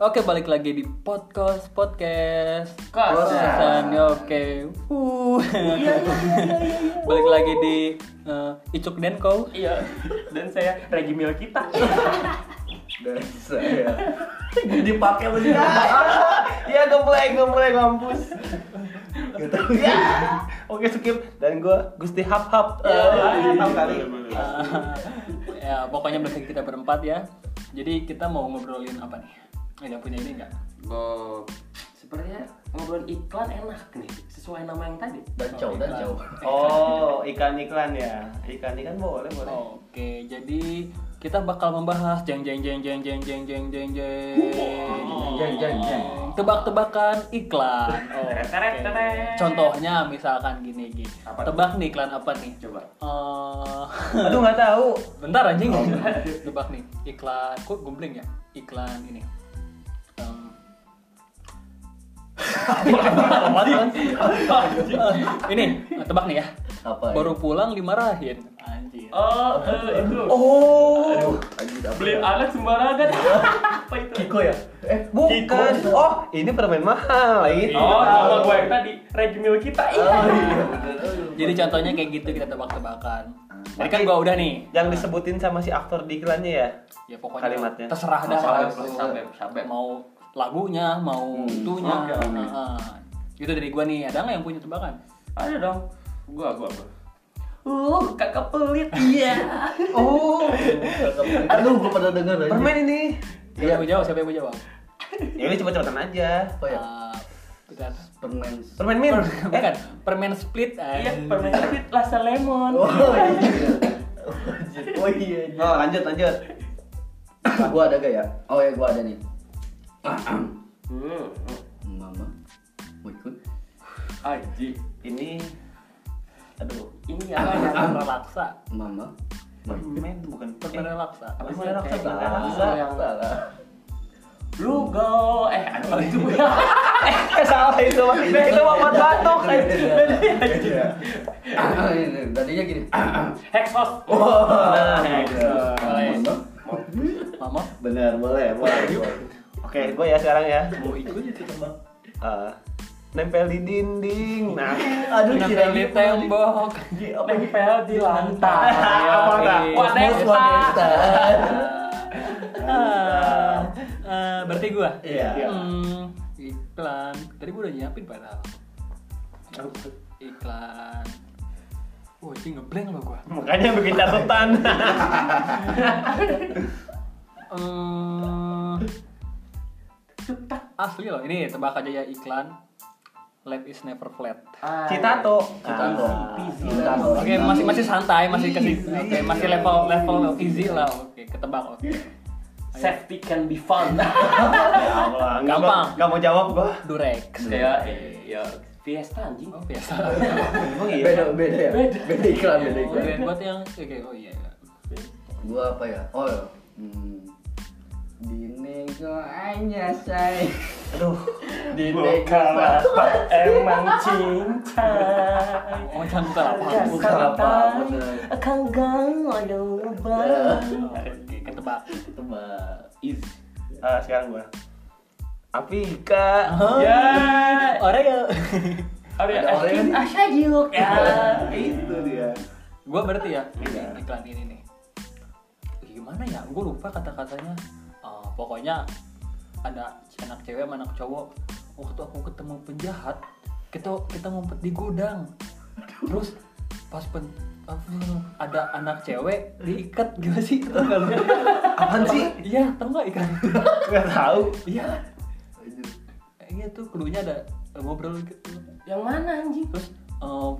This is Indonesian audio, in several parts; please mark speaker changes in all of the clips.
Speaker 1: Oke, balik lagi di podcast podcast.
Speaker 2: Kosan.
Speaker 1: Kosan, ya, Oke. Uh. balik lagi di eh, Icuk dan Kau.
Speaker 2: Iya. Dan saya Regi Mil kita.
Speaker 3: Dan saya dipakai lagi. ya gembleng gembleng mampus. Gitu. Oke skip dan gue Gusti Hap Hap. Eh, Tahu kali.
Speaker 1: ya, pokoknya berarti kita berempat ya. Jadi kita mau ngobrolin apa nih? Ada punya ini enggak?
Speaker 2: Bo, sepertinya ngobrol iklan enak nih, sesuai nama yang tadi.
Speaker 3: Dan jauh dan jauh.
Speaker 4: Oh, ikan-iklan ya. Ikan-ikan boleh, boleh.
Speaker 1: Oke, jadi kita bakal membahas jeng jeng jeng jeng jeng jeng jeng jeng jeng
Speaker 3: Jeng jeng jeng.
Speaker 1: tebak-tebakan iklan.
Speaker 2: Teret, teret,
Speaker 1: Oke.
Speaker 2: teret.
Speaker 1: Contohnya misalkan gini gini.
Speaker 2: Apa
Speaker 1: Tebak nih iklan apa nih?
Speaker 2: Coba.
Speaker 1: Eh,
Speaker 3: Aduh nggak tahu.
Speaker 1: bentar anjing. Tebak nih iklan. Kok gumbling ya? Iklan ini. Em, ini tebak nih ya.
Speaker 3: Apa? ya?
Speaker 1: Baru pulang dimarahin. Anjir.
Speaker 2: Oh, eh, itu.
Speaker 3: Oh. Anjir, apa
Speaker 2: Beli
Speaker 3: ya?
Speaker 2: alat sembarangan. Apa itu?
Speaker 3: Kiko ya? Eh bukan.
Speaker 4: Kiko.
Speaker 3: Oh ini permen mahal itu.
Speaker 2: Oh,
Speaker 4: Iya.
Speaker 2: nama gue yang tadi Regi Mil kita. Iya.
Speaker 3: Oh, iya, bener.
Speaker 1: Jadi contohnya kayak gitu kita tebak-tebakan. Jadi kan gua udah nih.
Speaker 4: Yang disebutin sama si aktor di iklannya ya.
Speaker 1: ya pokoknya
Speaker 4: Kalimatnya.
Speaker 1: terserah dah
Speaker 2: Sabep,
Speaker 1: gitu.
Speaker 2: sabep, sabep.
Speaker 1: mau lagunya mau
Speaker 4: Hmm,
Speaker 1: itunya Heeh. itu dari gua nih ada nggak yang punya tebakan
Speaker 2: Ada dong. Gua, gua, gua. Uh, kakak pelit. Iya.
Speaker 3: Oh. Aduh gue pernah dengar. anjir.
Speaker 4: Permen ini.
Speaker 1: siapa
Speaker 4: Iya.
Speaker 1: yang mau jawab siapa yang mau jawab
Speaker 4: Ya ini cepet-cepetan aja.
Speaker 3: Apa ya?
Speaker 1: Ah, bentar.
Speaker 3: Permen.
Speaker 4: Permen Oh, iya. min. eh.
Speaker 1: bukan permen split eh.
Speaker 2: Iya, permen pelit rasa lemon.
Speaker 3: Oh iya. Oh iya.
Speaker 4: Eh, oh, lanjut lanjut.
Speaker 3: Ah, gua ada gak ya? Oh ya gua ada nih.
Speaker 2: Hmm.
Speaker 3: Mama, mau ikut?
Speaker 2: Aji.
Speaker 4: Ini aduh.
Speaker 2: Ini ya.
Speaker 1: permen relaksa
Speaker 3: Mama, mau ikut?
Speaker 4: Permen itu bukan
Speaker 1: permen
Speaker 4: eh,
Speaker 1: relaksa
Speaker 4: Apa sih
Speaker 2: Permen
Speaker 4: relaksa?
Speaker 2: relaksa.
Speaker 4: Relaksa.
Speaker 3: Salah, salah.
Speaker 2: Lu go. Eh, ada itu ya.
Speaker 4: Eh salah itu mah. Itu mah buat batuk.
Speaker 3: Iya. Ini, Tadinya gini.
Speaker 2: Hexos.
Speaker 3: Wah,
Speaker 2: Hexos.
Speaker 3: Mama,
Speaker 1: mama
Speaker 3: iya. benar boleh, boleh.
Speaker 4: Oke, gue ya sekarang ya.
Speaker 1: mau ikut itu tembak
Speaker 4: Eh, nempel di dinding. Nah,
Speaker 3: Aduh,
Speaker 1: Kenapa
Speaker 3: kira
Speaker 1: di tembok
Speaker 2: Nempel di
Speaker 1: Iya,
Speaker 2: lantai.
Speaker 4: Apa dah?
Speaker 2: Wadesta.
Speaker 1: Ah, ah, berarti gua
Speaker 3: Iya.
Speaker 1: Hmm, iklan. Tadi gue udah nyiapin padahal. Iklan. Wah, ini ngeblank loh gua.
Speaker 4: makanya bikin catatan.
Speaker 1: Hmm. Asli loh, ini tebak aja ya iklan. Life is never flat.
Speaker 4: Citato. Ah.
Speaker 3: Citato.
Speaker 2: Easy, easy.
Speaker 3: Citato.
Speaker 1: Oke, masih masih santai, masih kasih oke, masih level level easy lah. Oke, ketebak. Oke.
Speaker 2: Safety can be fun.
Speaker 4: Ya Allah, nggak
Speaker 1: Gampang.
Speaker 4: mau- nggak mau jawab gua.
Speaker 1: Durex.
Speaker 2: Ya, ya. Fiesta anjing.
Speaker 1: Oh, biasa.
Speaker 4: Emang
Speaker 5: iya?
Speaker 3: Beda, beda ya. Beda iklan, beda iklan.
Speaker 1: Oke, buat yang oke, oh iya.
Speaker 3: Gua apa ya? Oh, ya. hmm. Di nego hanya saya.
Speaker 4: Aduh.
Speaker 3: Di
Speaker 2: Bukan
Speaker 3: nego
Speaker 2: apa emang cinta.
Speaker 1: Oh, jangan buka lapangan.
Speaker 3: Bukan apa, bener.
Speaker 2: Kanggang ada lubang.
Speaker 1: Oke, ketebak.
Speaker 3: Tebak.
Speaker 2: Easy.
Speaker 4: Ah, sekarang gua. Afrika.
Speaker 2: Ya.
Speaker 1: Oreo.
Speaker 2: Ada
Speaker 3: Ada orang
Speaker 2: orang
Speaker 3: ini.
Speaker 2: asyik ya.
Speaker 4: Itu dia.
Speaker 1: gue berarti ya ini iklan ini nih. Ih, Gimana ya? Gue lupa kata-katanya. Eh, pokoknya ada anak cewek sama anak cowok. Waktu aku ketemu penjahat, kita kita ngumpet di gudang. Terus pas pen apa, ada anak cewek diikat gimana sih? Tau nggak lu?
Speaker 4: Apaan sih?
Speaker 1: Iya, tau nggak ikan?
Speaker 4: Nggak tahu.
Speaker 1: Iya. Kayaknya tuh keluarnya ada eh, ngobrol gitu.
Speaker 2: Yang mana anjing?
Speaker 1: terus eh,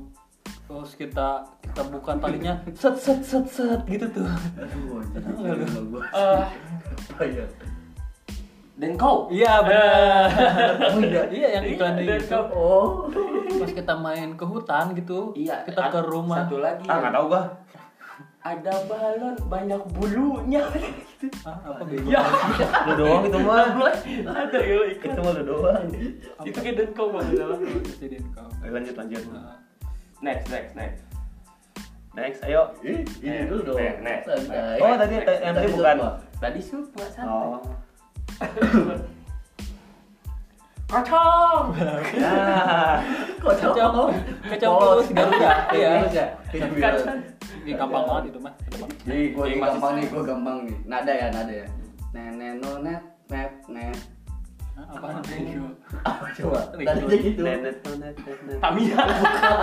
Speaker 1: terus kita kita buka talinya set set set set gitu tuh
Speaker 3: Aduh, anjir,
Speaker 1: Tahu nggak lu?
Speaker 3: jadi nama gua.
Speaker 2: Eh,
Speaker 3: Apa ya?
Speaker 2: dan kau.
Speaker 1: iya benar
Speaker 3: Oh, iya.
Speaker 1: iya yang iklan
Speaker 2: Iya, dan
Speaker 1: itu
Speaker 2: kau.
Speaker 3: Oh.
Speaker 1: pas kita main ke hutan gitu
Speaker 2: Iya.
Speaker 1: kita ke
Speaker 2: ad-
Speaker 1: rumah
Speaker 2: Satu lagi.
Speaker 4: Ah, nggak tahu gua.
Speaker 2: Ada balon banyak bulunya.
Speaker 1: Hah, Ah, apa bego?
Speaker 2: Ya.
Speaker 4: Lu doang itu mah.
Speaker 2: Ada ya iklan.
Speaker 4: Itu mah lu doang.
Speaker 2: Itu kayak dan kau bang.
Speaker 1: Jadi kau.
Speaker 4: Ayo, lanjut lanjut.
Speaker 1: Nah,
Speaker 2: Next, next, next.
Speaker 4: Next, ayo.
Speaker 3: Ih, ini dulu dong.
Speaker 2: Nek, nek,
Speaker 3: Santai.
Speaker 4: Oh, tadi
Speaker 2: Next,
Speaker 4: yang tadi
Speaker 3: Tadi
Speaker 4: bukan.
Speaker 3: gua.
Speaker 2: Tadi suka santai.
Speaker 4: Oh.
Speaker 2: Kacang.
Speaker 1: kacang kacang polos garuda iya
Speaker 2: Kacang.
Speaker 1: ini gampang banget itu mah
Speaker 2: Iya.
Speaker 1: Gampang.
Speaker 5: Jadi gue nih gampang nih, gue gampang nih. Nada ya, nada ya. Nenek nonet net net.
Speaker 1: Hah,
Speaker 2: Iya.
Speaker 1: apaan Ah, thank you
Speaker 5: Apa coba?
Speaker 1: Nih,
Speaker 5: Tadinya gitu.
Speaker 4: Nenet, nenet, nenet.
Speaker 2: Tamiya.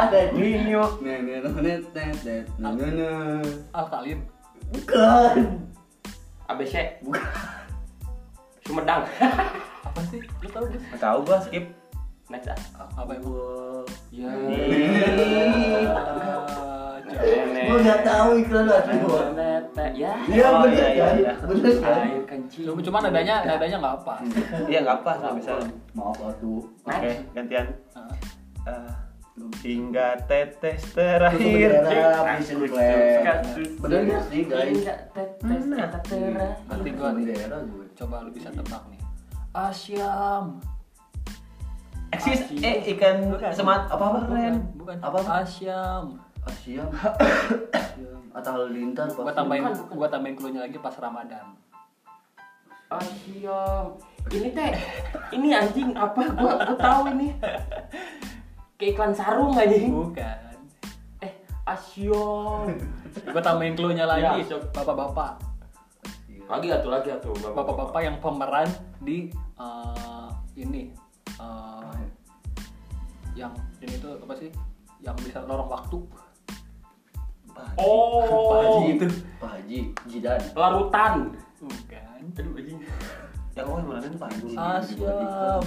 Speaker 5: Ada Nino. Nenek nonet net net. Nono.
Speaker 1: alkalin
Speaker 5: Bukan.
Speaker 2: ABC.
Speaker 5: Bukan.
Speaker 2: Sumedang.
Speaker 1: apa sih lu tau gus
Speaker 3: Nggak tahu gua skip.
Speaker 2: Next ah.
Speaker 1: apa yang
Speaker 2: Iya.
Speaker 1: ya Ah,
Speaker 5: Gue nggak tahu iklan asli gue.
Speaker 2: Nenet. Ya.
Speaker 5: Iya
Speaker 4: Oh,
Speaker 5: bener
Speaker 4: iya,
Speaker 5: kan?
Speaker 4: iya.
Speaker 5: Bener kan?
Speaker 2: Air kencing.
Speaker 1: cuma cuman nadanya nadanya nggak apa
Speaker 4: Iya nggak apa, nggak bisa.
Speaker 5: Maaf atuh.
Speaker 4: Oke, gantian.
Speaker 1: Nah,
Speaker 4: Eh, hingga tetes terakhir.
Speaker 5: Bendera, mission plan. Bener nggak sih guys?
Speaker 4: Iya,
Speaker 2: Enggak tetes tetera.
Speaker 1: nanti gua nih
Speaker 5: Bendera gue.
Speaker 1: coba lu bisa tebak nih Asyam
Speaker 4: Eksis, eh ikan semat apa apa
Speaker 1: bukan
Speaker 4: keren?
Speaker 1: bukan
Speaker 5: Apa?
Speaker 1: Asyam
Speaker 5: Asyam. Atau halilintar
Speaker 1: gua
Speaker 5: pasti.
Speaker 1: tambahin
Speaker 2: Bukan, bukan.
Speaker 1: gua tambahin clue-nya lagi pas Ramadan
Speaker 2: Oh iya. Ini teh, ini anjing apa? Gua, gua tahu ini. Kayak iklan sarung anjing.
Speaker 1: bukan
Speaker 2: Eh, Asyong.
Speaker 1: gua tambahin clue-nya lagi
Speaker 2: Ya.
Speaker 1: bapak-bapak
Speaker 2: Lagi atuh lagi atuh.
Speaker 1: bapak-bapak yang pemeran di eh, ini eh, yang ini tuh apa sih yang bisa lorong waktu Pak Haji
Speaker 2: Oh.
Speaker 1: itu
Speaker 5: Pak Haji, Jidan.
Speaker 2: Larutan.
Speaker 1: bukan
Speaker 2: Aduh anjing.
Speaker 4: Ya kok mana itu pak?
Speaker 1: Asyam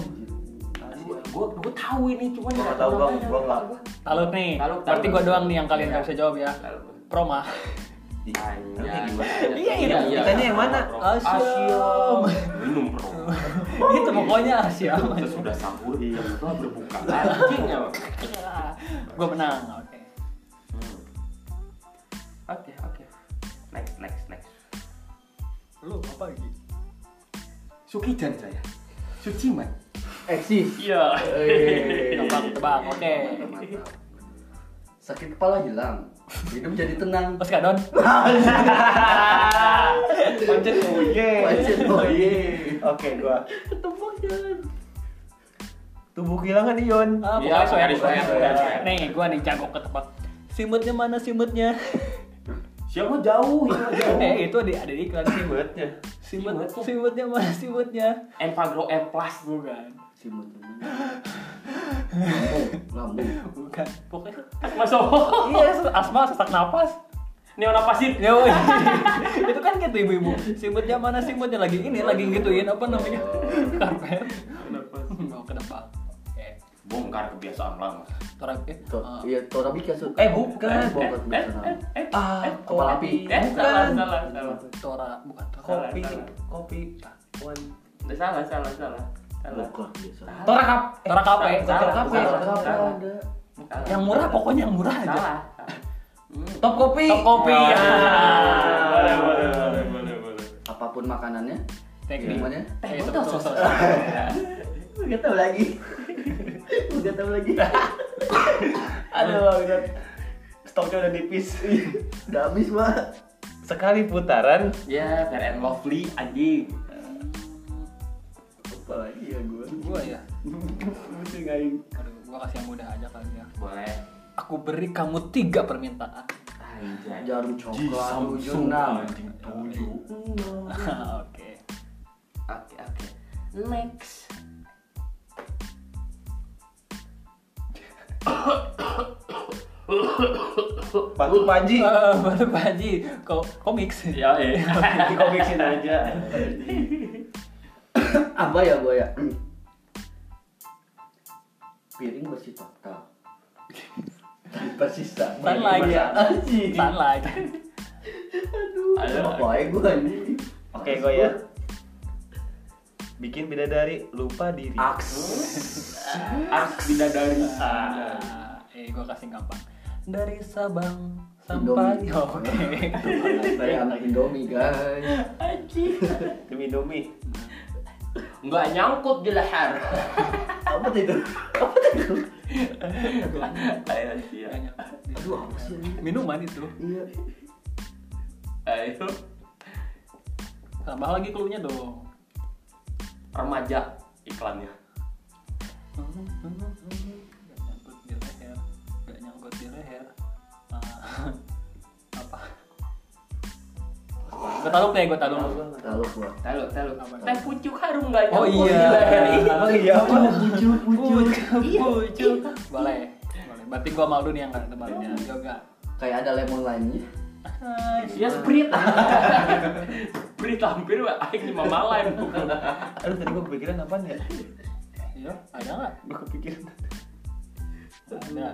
Speaker 2: Gua, gua, gua tahu ini cuman
Speaker 4: Gua
Speaker 2: nggak
Speaker 4: tahu, Bang.
Speaker 2: namanya.
Speaker 4: Gua nggak.
Speaker 1: talut nih
Speaker 2: Talut, talut.
Speaker 1: berarti gua doang nih yang kalian nggak
Speaker 2: Iya.
Speaker 1: bisa jawab ya
Speaker 2: Talut.
Speaker 1: Proma
Speaker 2: Anjing.
Speaker 4: Iya, iya. Ikannya yang mana?
Speaker 1: Asyam
Speaker 2: Minum bro.
Speaker 1: itu pokoknya Asyam
Speaker 2: Sesudah sahur, jam dua berbuka. Anjing ya. Bang.
Speaker 1: gua menang oke
Speaker 2: Oke, oke. Next, next, next.
Speaker 1: lu apa lagi
Speaker 2: Sukijan saya. Suciman.
Speaker 5: Eksis.
Speaker 2: Iya.
Speaker 1: tebak tebak Eh, oke
Speaker 5: Sakit kepala hilang, hidup jadi tenang.
Speaker 1: Mas Kadon
Speaker 4: Pancet oye.
Speaker 5: Wajib boye.
Speaker 4: Oke, gua. Tubuh kehilangan ion.
Speaker 1: Ah, pokoknya
Speaker 2: Iya,
Speaker 1: soya,
Speaker 2: dari
Speaker 1: pokoknya
Speaker 2: soya,
Speaker 1: soya.
Speaker 2: soya.
Speaker 1: Nih, gua nih jago ketebak. Simutnya mana simutnya?
Speaker 2: Siapa jauh? Siapa jauh?
Speaker 1: eh, itu di ada di iklan simut.
Speaker 4: Buatnya.
Speaker 1: Simut,
Speaker 2: Simutnya.
Speaker 1: simutnya mana simutnya?
Speaker 2: Empagro M plus.
Speaker 1: Bukan,
Speaker 5: Simut Lambung, lambung.
Speaker 1: bukan. Pokoknya
Speaker 2: Masuk.
Speaker 1: iya, se- asma sesak napas.
Speaker 2: Neonapasit.
Speaker 1: Ya woi. itu kan gitu ibu-ibu. Simutnya mana simutnya lagi ini lagi gituin apa namanya? Karpet. Mau ketebak. Oke.
Speaker 2: Bongkar kebiasaan lama.
Speaker 1: Torab eh,
Speaker 5: To-
Speaker 1: eh,
Speaker 5: Iya, torabik ya Su?
Speaker 4: Eh, bukan.
Speaker 5: Eh, bukan, bukan.
Speaker 2: Eh,
Speaker 4: Ah,
Speaker 5: Kepala api.
Speaker 2: eh, salah, salah, salah.
Speaker 1: eh, Tora bukan Tora.
Speaker 4: Kopi,
Speaker 2: Salah,
Speaker 4: kopi.
Speaker 2: Udah Salah, salah, salah. Salah.
Speaker 5: Bukan biasa.
Speaker 4: Torakap.
Speaker 1: Tora kape.
Speaker 4: Apa?
Speaker 2: Salah, salah,
Speaker 5: Torabik apa
Speaker 2: salah.
Speaker 5: ada?
Speaker 2: Salah.
Speaker 1: Yang murah pokoknya yang murah aja.
Speaker 2: Salah. Hmm.
Speaker 4: Top kopi.
Speaker 1: Top kopi.
Speaker 4: Ah.
Speaker 1: Ya.
Speaker 2: boleh, boleh, boleh.
Speaker 5: Apapun makanannya,
Speaker 1: Thank you.
Speaker 5: minumannya.
Speaker 1: Eh,
Speaker 2: Eh,
Speaker 1: betul,
Speaker 2: betul,
Speaker 1: betul,
Speaker 2: betul.
Speaker 5: Gak tahu lagi. Gak tahu lagi.
Speaker 4: Aduh, udah. Stoknya udah nipis.
Speaker 5: Udah habis, Pak.
Speaker 4: Sekali putaran.
Speaker 2: Ya, fair and lovely anjing.
Speaker 5: Apa lagi ya gue?
Speaker 1: Gua ya.
Speaker 4: Pusing aing.
Speaker 1: Aduh, gua kasih yang mudah aja kali ya.
Speaker 2: Boleh. Ah,
Speaker 1: Aku beri kamu tiga permintaan.
Speaker 2: Anjay.
Speaker 5: Jarum coklat, tujuh enam.
Speaker 2: tujuh.
Speaker 5: Hmm.
Speaker 1: Oke.
Speaker 2: Oke, oke. Next.
Speaker 4: Batu Panji.
Speaker 1: Eh, Baru Pak Haji, kok komiks?
Speaker 5: Iya.
Speaker 2: Ya, eh.
Speaker 4: Di komiksin aja.
Speaker 5: Apa ya gue ya? Piring bersih total. Tanpa sisa.
Speaker 1: Sunlight ya.
Speaker 5: Anjing.
Speaker 1: Sunlight.
Speaker 2: Ada
Speaker 5: Apa ya gue anjing?
Speaker 4: Oke, gua ya. Bikin bidadari lupa diri.
Speaker 2: aks bidadari.
Speaker 1: Ah, eh, gua kasih yang gampang. Dari Sabang sampai
Speaker 5: Indomie. Iya,
Speaker 1: Ya, oke.
Speaker 5: Saya anak Indomie guys.
Speaker 2: Anjing.
Speaker 4: Demi domi.
Speaker 2: Nggak nyangkut di leher.
Speaker 5: Apa tuh itu?
Speaker 2: Ayo, iya.
Speaker 1: Banyak.
Speaker 5: Aduh apa sih ini?
Speaker 1: Minuman itu.
Speaker 5: Iya.
Speaker 2: Ayo.
Speaker 1: Tambah lagi clue-nya dong.
Speaker 2: Remaja iklannya.
Speaker 1: Gak nyangkut di leher Gak nyangkut di leher Ah, Apa? Gue taluk deh, gue taluk
Speaker 5: Lalu gua.
Speaker 2: Talu, talu.
Speaker 1: Apa?
Speaker 2: Teh pucuk harum nggak
Speaker 1: Oh
Speaker 2: nyambung
Speaker 1: iya
Speaker 2: di leher ini.
Speaker 1: Oh iya
Speaker 5: Bucu, bucu.
Speaker 2: Iya,
Speaker 1: Bucu Boleh Boleh Berarti gue malu nih yang gak tebalinnya Yoga
Speaker 5: Kayak ada lemon lainnya.
Speaker 1: iya.
Speaker 2: Ya sprit. sprit hampir wah aing cuma malam.
Speaker 4: Aduh tadi gue kepikiran apaan ya?
Speaker 1: Iya, ada gak?
Speaker 4: Gue kepikiran
Speaker 1: Ada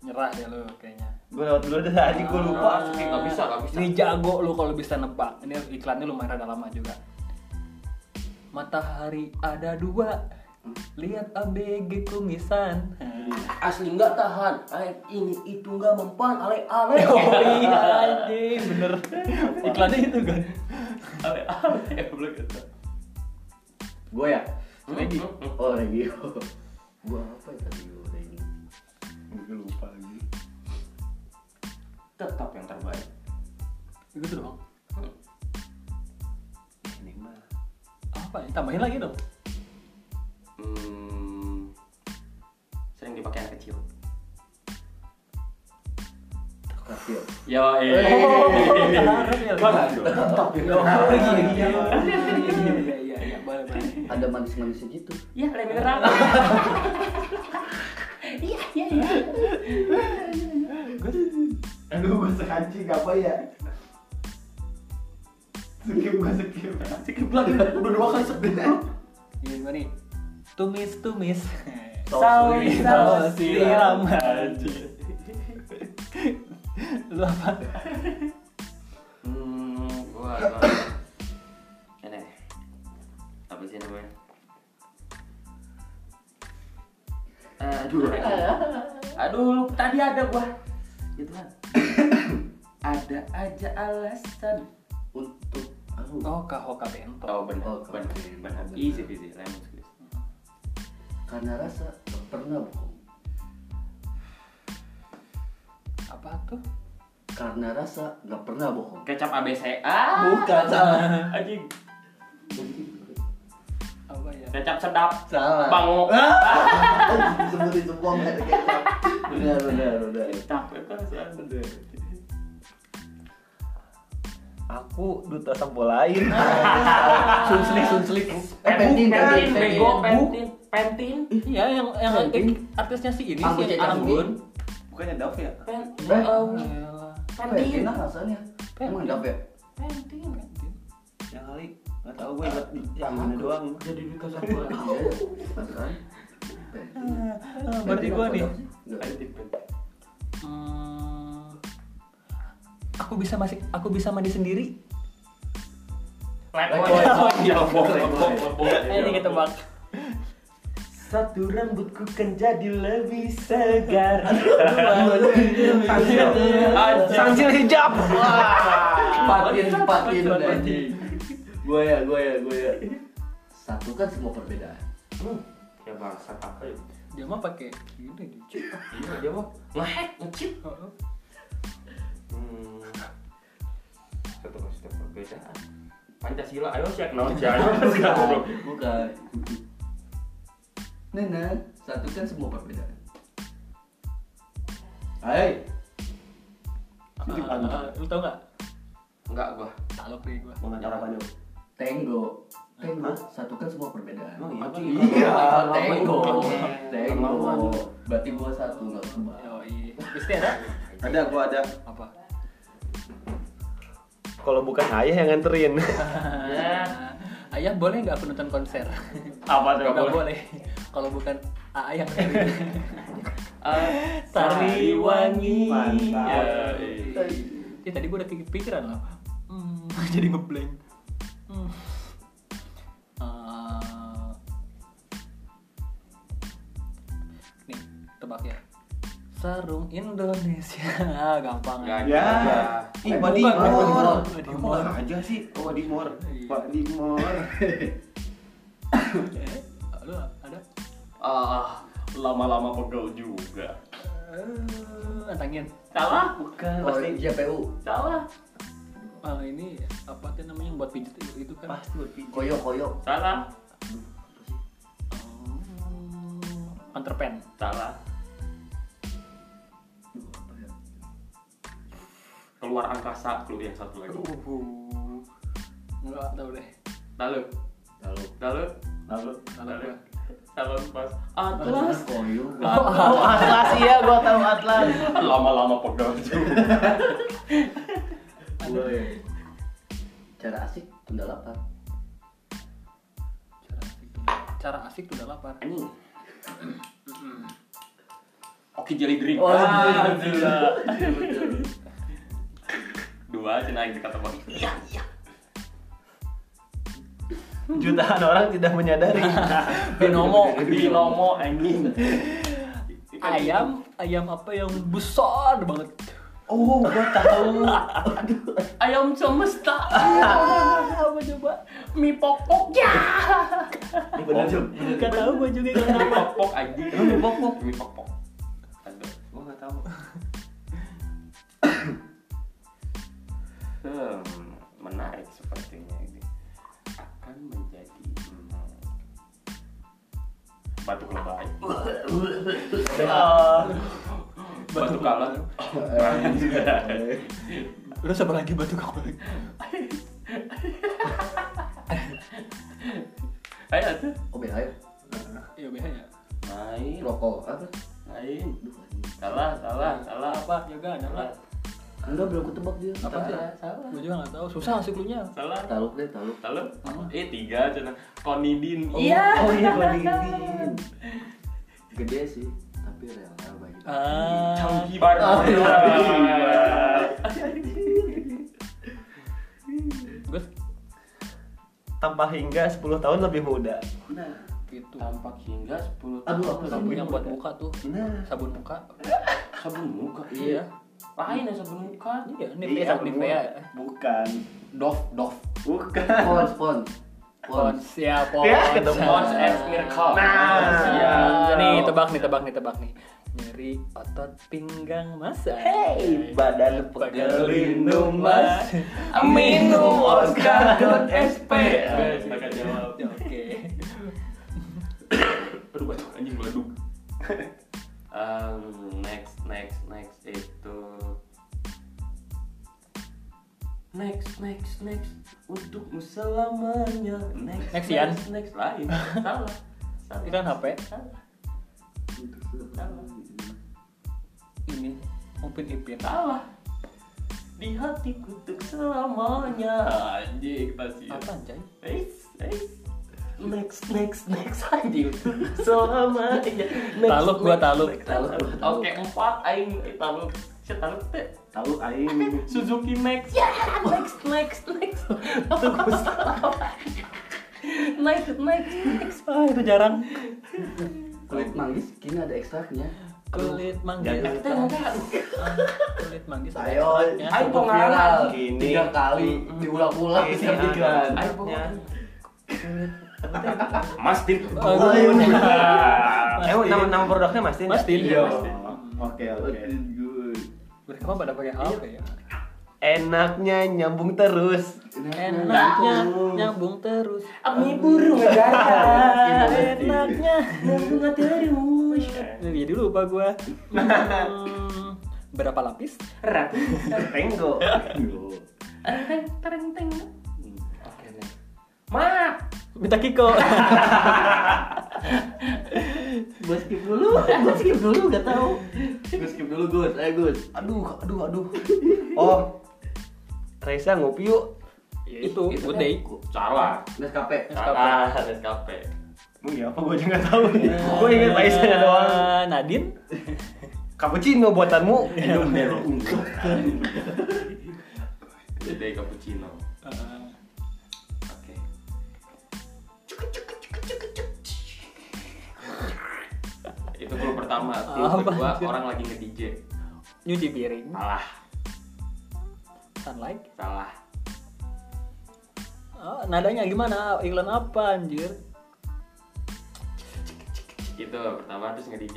Speaker 1: Nyerah deh lu kayaknya
Speaker 4: Gue lewat dulu deh tadi gue lupa asli
Speaker 2: Enggak bisa, enggak bisa.
Speaker 1: Ini jago lu kalau bisa nebak. Ini iklannya lumayan rada lama juga. Matahari ada dua. Lihat ABG kumisan.
Speaker 2: Asli nggak tahan. Aing ini itu nggak mempan ale ale.
Speaker 1: Oh iya anjing, bener. Iklannya itu kan.
Speaker 2: Ale ale. Belum kata.
Speaker 5: Gua ya.
Speaker 1: Lagi.
Speaker 2: Mm-hmm,
Speaker 5: Oh Regio. Gua apa ya tadi gua Regio?
Speaker 4: Gue lupa lagi
Speaker 2: Tetap yang terbaik.
Speaker 1: Gitu dong.
Speaker 4: Ini mah
Speaker 1: Apa? Tambahin lagi dong.
Speaker 2: Hmm, sering dipakai anak kecil.
Speaker 5: Kafir.
Speaker 2: Ya, Oh.
Speaker 5: Tetap ya.
Speaker 1: Iya iya iya iya boleh boleh.
Speaker 5: Ada manis-manisnya gitu.
Speaker 2: Iya, ada mineral. Iya, iya, iya.
Speaker 4: Aduh gue sekancing apa ya? Skip gue skip
Speaker 2: Sikit lagi, udah dua kali sebut.
Speaker 1: Iya gimana nih? Tumis tumis.
Speaker 5: Sawi,
Speaker 1: Saus siram anjing. Lu apa?
Speaker 2: Hmm, gua ini apa sih namanya? Eh, Aduh, aduh, lu- tadi ada gua. Ya Tuhan. ada aja alasan.
Speaker 5: Untuk anu, aku.
Speaker 1: Oh kahoka bento.
Speaker 2: Oh benar,
Speaker 5: Oh,
Speaker 2: benar,
Speaker 5: keren. Iya,
Speaker 2: benar.
Speaker 5: Benar.
Speaker 2: Easy, easy, lemon squeeze.
Speaker 5: Karena rasa tak pernah bohong.
Speaker 1: apa tuh
Speaker 5: Karena rasa nggak pernah bohong.
Speaker 2: Kecap ABC. Ah,
Speaker 5: Bukan, salah.
Speaker 2: Anjing.
Speaker 1: apa ya
Speaker 2: Kecap sedap.
Speaker 5: Salah. Kan
Speaker 2: Bango.
Speaker 5: Sebutin semua nggak ada kecap. gitu. Benar, benar, benar.
Speaker 2: Kecap itu rasanya.
Speaker 4: Aku duta sampo lain
Speaker 5: Sunslik, sunslik. Eh,
Speaker 2: Pentin, pentin,
Speaker 5: penting, penting,
Speaker 2: bego,
Speaker 5: penting.
Speaker 2: pentin, pentin,
Speaker 1: iya yang yang
Speaker 5: Penting.
Speaker 1: artisnya si ini
Speaker 5: Anggun
Speaker 1: sih
Speaker 5: Cecep
Speaker 1: Anggun
Speaker 4: Bukannya Dove ya?
Speaker 2: pen-
Speaker 5: Eh.
Speaker 2: em,
Speaker 1: Ayolah.
Speaker 2: pentin,
Speaker 5: Enak rasanya. Emang dap ya?
Speaker 1: penting penting
Speaker 4: Yang Ya kali Gak tau gue inget yang Ya, mana doang
Speaker 2: Jadi duta satu lagi.
Speaker 5: Iya, beneran. Penting.
Speaker 1: Ah, berarti gua nih
Speaker 5: Nggak.
Speaker 2: Pentin, pentin.
Speaker 1: hmm, aku bisa masih aku bisa mandi sendiri
Speaker 2: Lemon,
Speaker 5: Lemon.
Speaker 2: lemon, lemon,
Speaker 5: Lemon.
Speaker 2: lemon,
Speaker 1: ayo
Speaker 2: lemon.
Speaker 1: kita bak
Speaker 4: Satu rambutku kan jadi lebih segar
Speaker 2: Anjing.
Speaker 4: hijab
Speaker 5: Patin, patin,
Speaker 2: Patin.
Speaker 5: anjing. Gue ya, gue ya, gue ya. Satukan semua perbedaan.
Speaker 2: Ya bangsat apa ya?
Speaker 1: dia mah pakai ini lucu
Speaker 2: Iya dia mah ngehack, ngecip. Hmm. Satu setiap perbedaan. Pancasila, ayo siap naon
Speaker 5: Bukan,
Speaker 2: jangan.
Speaker 5: bukan. Nena, satukan kan semua perbedaan. Hai,
Speaker 1: lu tau gak
Speaker 2: Enggak gua.
Speaker 1: talok nih gua
Speaker 4: Mengajar apa dong?
Speaker 5: Tenggo. Tenggo, satukan semua perbedaan.
Speaker 4: Emang iya?
Speaker 5: Iya, Tenggo.
Speaker 2: Iya.
Speaker 5: Tenggo. Berarti gua satu enggak semua.
Speaker 1: Yoi. pasti ada
Speaker 4: Ada, gue ada
Speaker 1: apa
Speaker 4: Kalau bukan ayah yang nganterin
Speaker 2: Ya.
Speaker 1: ayah boleh nggak aku nonton konser
Speaker 2: Apa tuh?
Speaker 1: nggak boleh kalau bukan Aa yang
Speaker 2: Eh,
Speaker 1: Sari wangi.
Speaker 4: Mantap.
Speaker 1: Ya, eh. Eh, tadi gue udah kepikiran loh. Hmm, jadi ngeblank. Hmm. Eh, nih, tebak ya. Sarung Indonesia gampang
Speaker 2: Nggak
Speaker 1: aja.
Speaker 2: ada.
Speaker 4: Ya Ih, Pak Dimor
Speaker 1: Bukan, bukan, bukan. Pak
Speaker 4: Aku
Speaker 1: Dimor.
Speaker 4: nggak aja sih Oh, Pak Dimor
Speaker 1: Iya.
Speaker 4: Pak Dimor
Speaker 1: Eh, lu ada?
Speaker 2: Ah, lama-lama pegel juga.
Speaker 1: Eh, Antangin.
Speaker 2: Salah,
Speaker 4: Bukan,
Speaker 5: Oh,
Speaker 4: pasti
Speaker 5: JPU.
Speaker 2: salah.
Speaker 1: Eh, ini apa tuh namanya yang buat pijet itu kan?
Speaker 4: Pasti buat pijat
Speaker 5: Koyo, koyo.
Speaker 2: Salah.
Speaker 1: Eh, Counterpen.
Speaker 2: Salah. Keluar angkasa lu yang satu lagi.
Speaker 1: Uh, nggak tahu deh.
Speaker 2: Lalu,
Speaker 5: Lalu
Speaker 2: lalu,
Speaker 4: Lalu
Speaker 1: Salah
Speaker 2: Lalu.
Speaker 1: gua.
Speaker 2: lalu pas Atlas.
Speaker 5: koyu.
Speaker 4: Oh, Atlas iya, gua tahu Atlas.
Speaker 2: Lama-lama pegang juga.
Speaker 5: Boleh. Cara asik tunda lapar.
Speaker 1: Cara asik tuh. Cara asik tuh udah lapar.
Speaker 2: Anjing. Oke jelly drink.
Speaker 5: Oh,
Speaker 2: Ah,
Speaker 5: jelly
Speaker 2: gila. Dua aja naik di kata bang. Iya, iya.
Speaker 4: Jutaan orang tidak menyadari.
Speaker 2: Binomo, binomo anjing.
Speaker 1: Iya.
Speaker 2: Ikan
Speaker 1: Ayam, ayam apa yang besar banget?
Speaker 4: Oh, gua tahu.
Speaker 2: ayam semesta
Speaker 1: Apa coba?
Speaker 2: mie popok ya
Speaker 4: Ini bener Jum.
Speaker 1: Gak tahu gua juga nggak
Speaker 2: mie popok aja mie popok mie popok Ada.
Speaker 4: Gua nggak tahu.
Speaker 2: hmm, menarik sepertinya ini akan menjadi hmm, batu lebay
Speaker 4: Ah,
Speaker 2: batu kalah
Speaker 1: Terus apa lagi batu kapal?
Speaker 2: ayo tuh
Speaker 5: Oh, ayo.
Speaker 1: Iya BH ya.
Speaker 2: main
Speaker 5: Rokok apa?
Speaker 2: main
Speaker 5: Duh, anjing.
Speaker 2: salah salah salah
Speaker 1: Apa juga
Speaker 2: salah
Speaker 1: ada
Speaker 5: Enggak belum ketebak dia.
Speaker 1: Apa sih?
Speaker 2: salah
Speaker 1: Gua juga nggak tahu. Susah sih klunya.
Speaker 2: salah
Speaker 5: Taluk deh, taluk.
Speaker 2: Lalu, eh tiga aja nah. Konidin.
Speaker 4: Oh iya, gua dingin.
Speaker 5: Gede sih, tapi rela bagi.
Speaker 1: Ah.
Speaker 2: Canggih banget.
Speaker 1: Gue
Speaker 4: Tanpa hingga 10 tahun lebih muda.
Speaker 1: gitu.
Speaker 2: Tampak hingga 10
Speaker 5: Aduh, apa
Speaker 2: tahun.
Speaker 1: Sabun yang buat muka tuh.
Speaker 4: Nah.
Speaker 1: Sabun muka.
Speaker 2: Sabun muka.
Speaker 1: Iya.
Speaker 2: Lain ya sabun muka.
Speaker 1: Iya,
Speaker 4: Iya,
Speaker 1: Nivea, Nivea.
Speaker 4: bener. Bukan.
Speaker 1: Dove, Dove.
Speaker 4: Bukan.
Speaker 5: Pons, pons. Pons.
Speaker 1: Pons, ya Pons.
Speaker 4: Ya, ketemu
Speaker 2: Pons and Miracle.
Speaker 4: Nah.
Speaker 2: Iya.
Speaker 1: Ya, nih tebak nih tebak nih tebak nih. Nyeri otot pinggang masa.
Speaker 4: Hey, badan pegelindung mas.
Speaker 2: Minum
Speaker 4: Oscar.sp.
Speaker 2: Silakan jawab.
Speaker 1: Oke.
Speaker 2: Aduh, batuk anjing batuk. Um, next, next, next itu next, next, next untuk selamanya. Next,
Speaker 1: Next, Yan.
Speaker 2: next, next. lain. Salah. Salah.
Speaker 1: Itu kan HP?
Speaker 2: Salah. Salah.
Speaker 1: Ini Upin Ipin.
Speaker 2: Salah. Di hatiku untuk selamanya. Anjing, pasti.
Speaker 1: Apa anjay?
Speaker 2: Eits, eits. Next, next, next anjing. Selama iya. Next,
Speaker 1: Taluk gua
Speaker 2: next,
Speaker 1: taluk.
Speaker 2: next, taluk. Oke, empat aing eh, taluk. Si taluk teh
Speaker 4: Tahu aing.
Speaker 2: Suzuki Max. Ya, next, next, next. Tunggu salah. Next, next, next.
Speaker 1: Ah, itu jarang.
Speaker 5: Kulit manggis kini ada ekstraknya.
Speaker 1: Kulit manggis.
Speaker 2: Kita enggak.
Speaker 1: Ah, Kulit manggis. ada
Speaker 5: Ayo,
Speaker 1: ekstraknya.
Speaker 2: ayo.
Speaker 5: cukup
Speaker 2: pengalaman.
Speaker 5: viral.
Speaker 4: Gini.
Speaker 5: Tiga kali diulang-ulang.
Speaker 4: Ini
Speaker 5: Tiga
Speaker 4: ada.
Speaker 5: kali.
Speaker 2: Ayo pokoknya. Mas Tin.
Speaker 1: Oh, gue-
Speaker 4: Eh, nama nama produknya Mas Tin. ya?
Speaker 1: Mas Tin.
Speaker 4: Iya.
Speaker 1: Mas Tin.
Speaker 4: Oke, oke.
Speaker 1: Mereka mah pada pakai HP ya.
Speaker 4: Enaknya nyambung terus.
Speaker 1: Enaknya nyambung terus.
Speaker 2: Ami burung data.
Speaker 1: Enaknya.
Speaker 2: Bunga terus.
Speaker 1: Jadi dulu lupa gua. Hmm, berapa lapis?
Speaker 2: Rap.
Speaker 4: Tenggo.
Speaker 2: Tereng tereng teng. Oke nih. Ma.
Speaker 1: Minta Kiko.
Speaker 5: Gue skip dulu. Gue skip dulu, gak tau. Gue skip dulu, Gus. Ayo, Gus.
Speaker 4: Aduh, aduh, aduh. Oh. Raisa ngopi yuk.
Speaker 1: itu, good day.
Speaker 2: Salah. Ah,
Speaker 5: Nescafe.
Speaker 2: Salah. Nescafe.
Speaker 4: Mau ya apa gue juga nggak tahu. gue inget Raisa doang.
Speaker 1: Eh, Nadine?
Speaker 4: Cappuccino buatanmu.
Speaker 2: Minum Nero unggul. Jadi cappuccino.
Speaker 1: Uh-huh.
Speaker 2: Oke. Itu clue pertama, clue
Speaker 1: Apa
Speaker 2: kedua
Speaker 1: anjir?
Speaker 2: orang lagi nge-DJ.
Speaker 1: Nyuci piring.
Speaker 2: Salah,
Speaker 1: Sunlight.
Speaker 2: salah.
Speaker 1: Oh, nadanya gimana? Iklan apa anjir?
Speaker 2: Itu Gitu, pertama terus nge-DJ.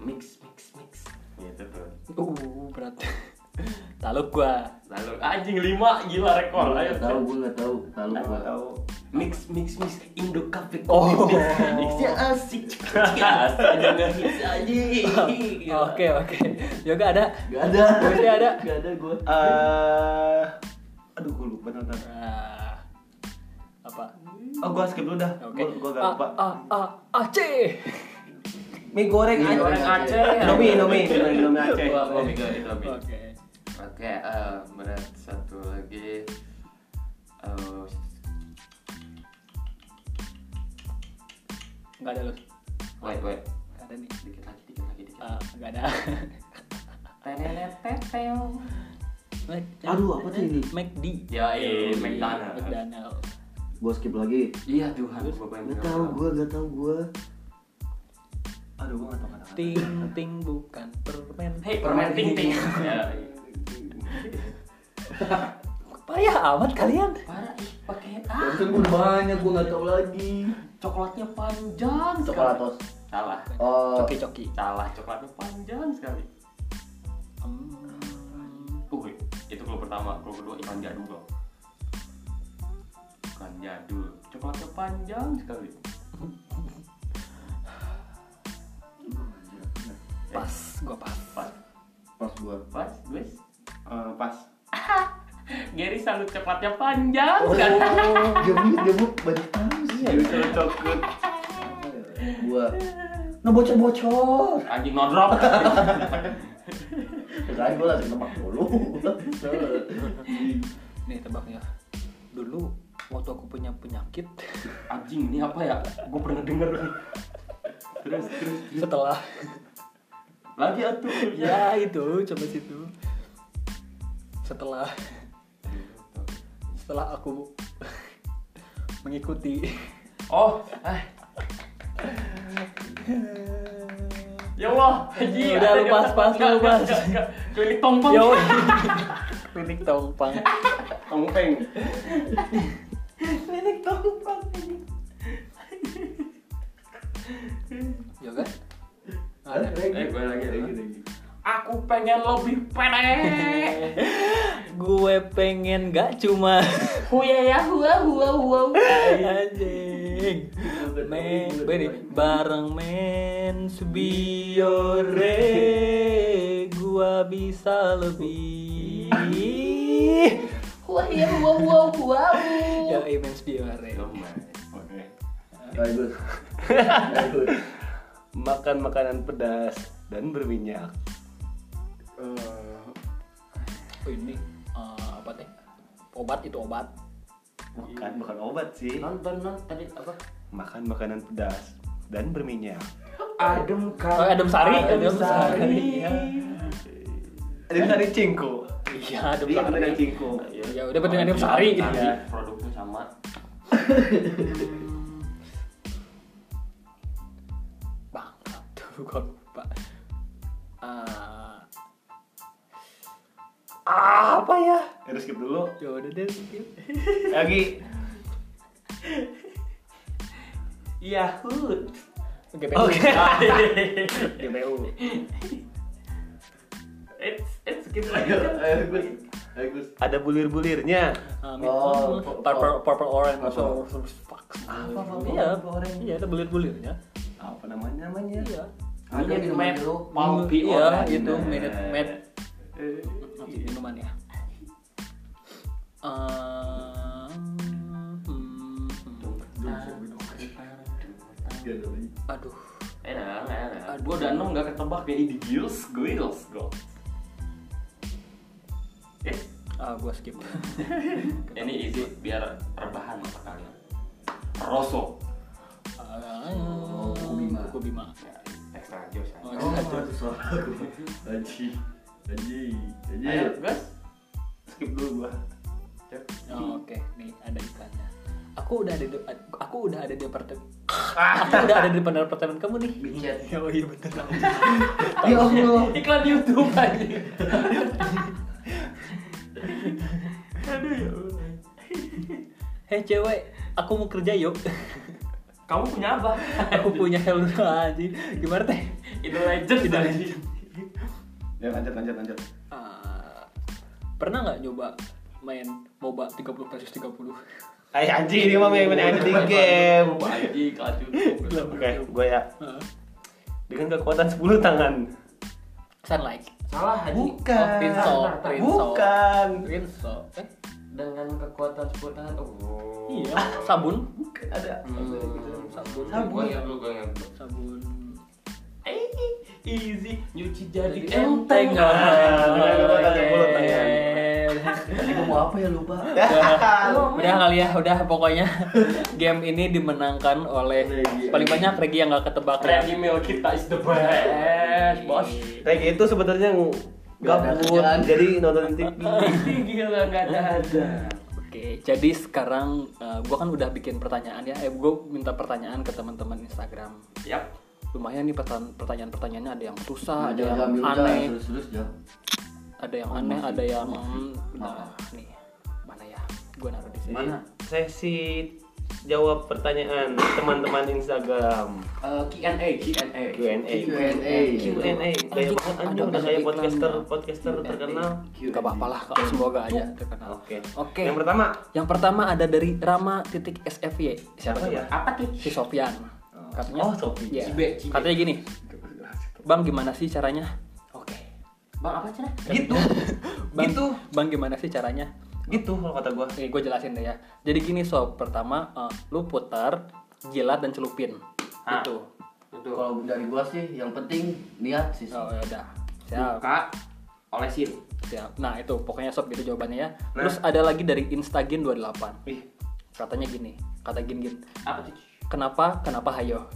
Speaker 2: Mix, mix, mix. Gitu tuh.
Speaker 1: Uh, berat. Taluk gua.
Speaker 2: Lalu anjing lima gila rekor. Ayo.
Speaker 5: Gak tau, gue gak tau. Lalu
Speaker 4: Nggak
Speaker 5: gue.
Speaker 4: tahu.
Speaker 6: mix mix mix Indo Cafe
Speaker 1: Oh.
Speaker 6: mixnya asik asik dengerin aja
Speaker 1: Oke oke. Yoga ada.
Speaker 5: Oh, iya. Gak ada.
Speaker 1: Gusti ada.
Speaker 5: Gak ada gue.
Speaker 4: Eh, aduh gue lupa nonton.
Speaker 1: Nah, apa?
Speaker 4: Oh gue skip dulu dah.
Speaker 1: Oke. Ah,
Speaker 4: Gue gue gak
Speaker 1: A,
Speaker 4: lupa.
Speaker 1: A A A C.
Speaker 4: Mie goreng
Speaker 5: Mie
Speaker 4: Aceh.
Speaker 5: goreng.
Speaker 2: Eh,
Speaker 4: Indomie Indomie Indomie Aceh.
Speaker 6: Wah, wah, mega, itu lebih.
Speaker 1: Oke.
Speaker 2: Oke, eh, berat satu lagi. Eh,
Speaker 1: Enggak ada lu.
Speaker 2: wait, wait.
Speaker 1: Nggak ada nih.
Speaker 2: Dikit lagi, dikit lagi, dikit.
Speaker 1: Ah, nggak ada.
Speaker 5: Aduh, apa tuh ini?
Speaker 1: McD.
Speaker 2: Ya, iya,
Speaker 5: Iya.
Speaker 2: McDonald.
Speaker 1: McDonald.
Speaker 5: Gue skip lagi.
Speaker 2: Iya, Tuhan, Bapak yang
Speaker 5: Gak tau gue, gak tau gue.
Speaker 4: Aduh gue gak tau kata-kata.
Speaker 1: Ting ting bukan permen.
Speaker 6: Hei, permen ting ting.
Speaker 2: Ya, iya.
Speaker 1: Payah amat kalian.
Speaker 6: Parah, ih, pakai
Speaker 1: Iya.
Speaker 5: Tapi
Speaker 6: ah.
Speaker 5: kan gue udah banyak, gue gak tau lagi.
Speaker 6: Coklatnya panjang sekali.
Speaker 5: Coklatos.
Speaker 2: Salah.
Speaker 5: Oh.
Speaker 1: Coki coki.
Speaker 2: Salah, coklatnya panjang sekali.
Speaker 1: Hmm.
Speaker 2: Uh, itu kalau pertama, kalau kedua ikan jadul dong. Ikan jadul, coklatnya panjang sekali.
Speaker 1: Pas, gua pas.
Speaker 2: Pas,
Speaker 5: Pas gue.
Speaker 2: pas, guys.
Speaker 4: Eh, pas.
Speaker 2: Gary salut coklatnya panjang
Speaker 6: Oh, iya.
Speaker 2: sekali.
Speaker 5: Oh, Dia bu, dia bu, banyak tahu sih.
Speaker 2: Salut coklat.
Speaker 5: Gue. Nah bocor-bocor.
Speaker 2: Anjing no drop.
Speaker 5: Kirain gue langsung tebak dulu.
Speaker 1: Nih tebaknya. Dulu waktu aku punya penyakit
Speaker 2: Anjing ini apa ya? Gue pernah denger. Terus, terus, terus.
Speaker 1: setelah
Speaker 2: Lagi atuh.
Speaker 1: ya itu coba situ setelah setelah aku mengikuti
Speaker 2: Oh, ah. Ya Allah, Haji,
Speaker 1: Udah,
Speaker 2: ada
Speaker 1: lu
Speaker 2: di
Speaker 1: bahas,
Speaker 2: atas.
Speaker 1: bahas,
Speaker 2: Enggak,
Speaker 1: lu bahas.
Speaker 2: enggak, enggak. Klinik tongpong.
Speaker 6: Ya
Speaker 1: yo klinik tongpang
Speaker 2: Tongpeng.
Speaker 1: ya kan ada
Speaker 2: Eh, gue lagi, lagi.
Speaker 6: Aku pengen lebih pendek.
Speaker 1: gue pengen gak cuma
Speaker 6: Huya ya, hua hua hua.
Speaker 1: anjing men beri bareng men sebiore gua bisa lebih
Speaker 6: Hua ya, hua hua hua.
Speaker 1: ya men sebiore
Speaker 2: Oke.
Speaker 5: Bagus. Bagus.
Speaker 4: Makan makanan pedas dan berminyak.
Speaker 1: Oh, ini eh, apa teh obat itu obat
Speaker 4: Bukan bukan obat sih.
Speaker 6: Nonton nonton tadi apa?
Speaker 4: Makan makanan pedas dan berminyak.
Speaker 6: Adem kan.
Speaker 1: Oh, Adem Sari, Adem
Speaker 6: Adem
Speaker 1: Sari.
Speaker 6: Sari.
Speaker 1: Iya.
Speaker 4: Ada
Speaker 1: Eh?
Speaker 4: dari cingko.
Speaker 1: iya adem
Speaker 4: Iya ada dari
Speaker 1: sari
Speaker 4: cingko.
Speaker 1: ya udah penting adem sari gitu ya.
Speaker 2: Tapi Iya, Produknya sama.
Speaker 1: bang tuh gua lupa Eh, apa ya
Speaker 4: Harus skip dulu.
Speaker 1: ya udah deh skip
Speaker 4: Lagi.
Speaker 6: Iya, Yahut.
Speaker 1: oke
Speaker 4: Oke.
Speaker 2: It's it's gitu
Speaker 5: Ayo,
Speaker 2: lagi.
Speaker 5: ayo Gus. Ayo Gus.
Speaker 4: Ada bulir-bulirnya.
Speaker 1: oh,
Speaker 5: Oh,
Speaker 1: purple, purple orange, Oh,
Speaker 5: Purple.
Speaker 1: so, so, fuck.
Speaker 5: purple,
Speaker 1: Iya,
Speaker 5: purple orange.
Speaker 1: iya, ada bulir-bulirnya.
Speaker 4: Apa namanya namanya?
Speaker 1: Iya,
Speaker 5: Ada
Speaker 2: gitu,
Speaker 6: Ini
Speaker 5: minuman
Speaker 6: made
Speaker 5: jeruk.
Speaker 6: pulpy
Speaker 2: ya,
Speaker 1: iya,
Speaker 6: orange.
Speaker 1: itu made, made Maksud minuman ya. Eh, hmm, hmm. aduh,
Speaker 2: Enak, enak. Gue udah enam nggak ketebak ya ini gils, gils, go. Eh,
Speaker 1: ah, gua skip.
Speaker 2: ini isi biar rebahan otak kalian. Rosso.
Speaker 1: Oh,
Speaker 5: Kubima.
Speaker 1: Kubima.
Speaker 2: Ya, Extra ya. jauh
Speaker 1: Oh,
Speaker 2: saya.
Speaker 5: Oh,
Speaker 1: aduh.
Speaker 5: itu salah gue. Anjing. Anjing.
Speaker 2: Ayo,
Speaker 5: Anjing.
Speaker 2: guys.
Speaker 4: Skip dulu gua.
Speaker 1: Oh, Oke, nih ada iklannya. Aku udah ada di, aku udah ada di apartemen.
Speaker 5: Ah.
Speaker 1: aku udah ada di depan apartemen kamu nih.
Speaker 5: Bicet.
Speaker 1: Ya, oh iya bener.
Speaker 5: Ya Allah.
Speaker 6: Iklan YouTube aja.
Speaker 1: Hei cewek, aku mau kerja yuk.
Speaker 2: Kamu punya apa?
Speaker 1: aku punya helm aja. Gimana teh?
Speaker 2: Itu legend,
Speaker 1: Itu
Speaker 2: tadi.
Speaker 1: legend.
Speaker 4: Ya lanjut lanjut lanjut.
Speaker 1: Eh, Ah, pernah nggak nyoba main MOBA 30 versus 30?
Speaker 3: Ay, anjing ini mah main main di game.
Speaker 2: Anjing kacau.
Speaker 3: Oke, gue ya. Dengan kekuatan 10 tangan.
Speaker 1: Sunlight.
Speaker 2: Salah
Speaker 1: Oh,
Speaker 2: anjing.
Speaker 1: Prinso,
Speaker 2: Bukan.
Speaker 1: Prinso.
Speaker 3: Bukan.
Speaker 1: Prinso. Eh,
Speaker 2: Dengan kekuatan sepuluh tangan. Oh.
Speaker 1: iya. Sabun.
Speaker 3: Bukan ada.
Speaker 2: Hmm, sabun.
Speaker 3: Sabun.
Speaker 2: Gua nggak- gua nggak-
Speaker 1: Sabun.
Speaker 2: Eh, easy nyuci jadi
Speaker 1: Jadi
Speaker 2: enteng. Ah,
Speaker 1: enteng. ya.
Speaker 3: Dengan kekuatan 10
Speaker 2: ya.
Speaker 3: tangan.
Speaker 5: Tadi gua mau apa ya lupa.
Speaker 1: Udah kali ya, udah pokoknya game ini dimenangkan oleh paling banyak Regi yang gak ketebak ya.
Speaker 2: Ready meal kita is the best, bos.
Speaker 3: Regi itu sebenarnya gitu ng-
Speaker 5: Gak ada
Speaker 3: gabut
Speaker 5: kerjaan.
Speaker 3: jadi nonton TV.
Speaker 2: Gila nggak ada ada.
Speaker 1: Oke, jadi sekarang eh, gua kan udah bikin pertanyaan ya. Eh, gua minta pertanyaan ke teman-teman Instagram.
Speaker 2: Yap.
Speaker 1: Lumayan nih pertan- pertanyaan-pertanyaannya ada yang susah, ada
Speaker 5: Ah, Jangan
Speaker 1: yang
Speaker 5: ambil ya. udah,
Speaker 1: aneh,
Speaker 5: Terus-terus jam.
Speaker 1: ada yang aneh, ada yang nah, nih mana ya? Gua naruh di sini.
Speaker 5: Mana?
Speaker 3: Sesi jawab pertanyaan teman-teman Instagram
Speaker 2: Eh, Q&A, Q&A.
Speaker 3: Q&A.
Speaker 1: Eh,
Speaker 5: Q&A.
Speaker 3: Q&A. Gaya banget anjing udah kayak podcaster podcaster terkenal.
Speaker 1: Gak Nah, apa-apa lah, kalau semoga aja terkenal.
Speaker 3: Oke.
Speaker 1: Oke.
Speaker 3: Yang pertama
Speaker 1: Yang pertama ada dari Rama titik SFY. Siapa
Speaker 3: Siapa
Speaker 1: tuh?
Speaker 3: ya?
Speaker 2: Apa tuh?
Speaker 1: Si Sofian. Katanya,
Speaker 3: Oh, Sofi.
Speaker 1: Iya.
Speaker 2: Cibe, cibe.
Speaker 1: Katanya gini. Bang gimana sih caranya? Oke.
Speaker 2: Bang apa cerah?
Speaker 3: Gitu.
Speaker 1: Bang,
Speaker 3: Gitu.
Speaker 1: Bang gimana sih caranya?
Speaker 3: Gitu kalau kata gua.
Speaker 1: Nih gue jelasin deh ya. Jadi gini sob, pertama eh, lu putar, jilat dan celupin.
Speaker 2: Hah?
Speaker 1: Gitu.
Speaker 2: Itu.
Speaker 5: Kalau dari gua sih yang penting niat sih.
Speaker 1: Oh ya udah. Siap.
Speaker 2: Buka olesin.
Speaker 1: Siap. Nah, itu pokoknya sob gitu jawabannya ya.
Speaker 2: Nah.
Speaker 1: Terus ada lagi dari Instagin 28.
Speaker 3: Ih,
Speaker 1: Katanya gini. Kata gin gin.
Speaker 2: Apa tuh?
Speaker 1: Kenapa? Kenapa hayo?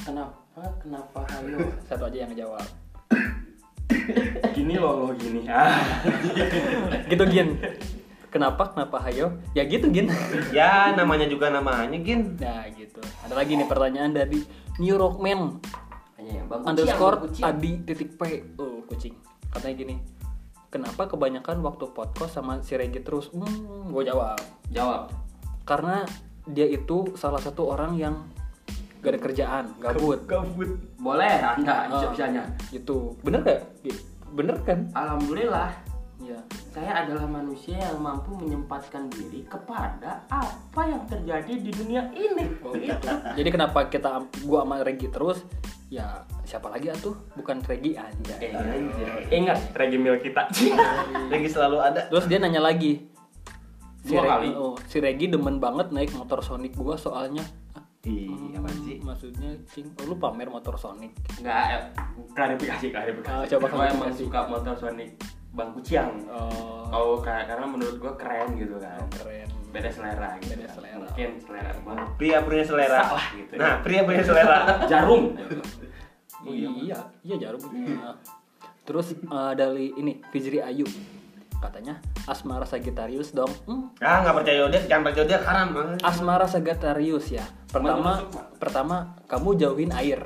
Speaker 2: Kenapa? Kenapa hayo?
Speaker 1: Satu aja yang jawab.
Speaker 2: gini loh, loh gini. Ah.
Speaker 1: Gitu gin. Kenapa? Kenapa hayo? Ya gitu gin.
Speaker 3: Ya namanya juga namanya Gin.
Speaker 1: Nah gitu. Ada lagi nih pertanyaan dari New Rockman
Speaker 2: Hanya yang ya, bang.
Speaker 1: underscore
Speaker 2: Kucing, bang, kucing.
Speaker 1: adi titik p. Oh kucing. Katanya gini. Kenapa kebanyakan waktu podcast sama si Regi terus? Hmm, gue jawab.
Speaker 2: Jawab.
Speaker 1: Karena dia itu salah satu orang yang gak ada kerjaan, gabut.
Speaker 3: Kabut.
Speaker 2: Boleh Anda
Speaker 1: Ah,
Speaker 2: bisa-bisanya.
Speaker 1: Gitu. Bener gak? Gi? Bener kan?
Speaker 2: Alhamdulillah,
Speaker 1: Iya.
Speaker 2: saya adalah manusia yang mampu menyempatkan diri kepada apa yang terjadi di dunia ini.
Speaker 1: Oh,
Speaker 2: Gitu.
Speaker 1: Jadi kenapa kita gua sama Regi terus? Ya siapa lagi atuh? Bukan Regi aja.
Speaker 2: Eh, Ingat regimil kita.
Speaker 3: Regi selalu ada.
Speaker 1: Terus dia nanya lagi. Si,
Speaker 2: Dua
Speaker 1: Regi,
Speaker 2: kali.
Speaker 1: oh, si Regi demen banget naik motor Sonic gua soalnya. Ah, hmm,
Speaker 3: Ih, apa sih?
Speaker 1: Maksudnya cing, oh, lu pamer motor Sonic.
Speaker 2: Enggak, eh, klarifikasi, klarifikasi.
Speaker 1: Ah, coba
Speaker 2: Gua emang
Speaker 1: klarifikasi.
Speaker 2: suka motor Sonic Bang Kuciang.
Speaker 1: Oh,
Speaker 2: Oh, karena, karena menurut gua keren gitu kan.
Speaker 1: keren.
Speaker 2: Beda selera gitu.
Speaker 1: Beda
Speaker 2: kan.
Speaker 1: selera.
Speaker 2: Mungkin selera gua
Speaker 3: Pria punya selera.
Speaker 2: Salah gitu.
Speaker 3: Nah, pria punya selera.
Speaker 2: jarum.
Speaker 1: iya, iya jarum. Nah, Terus eh, dari ini Fijri Ayu katanya Asmara Sagittarius dong. Hmm,
Speaker 3: ah, nggak percaya dia, jangan percaya dia haram. ah.
Speaker 1: Asmara Sagittarius ya. Pertama,
Speaker 2: Menusuk, Pak.
Speaker 1: pertama kamu jauhin air.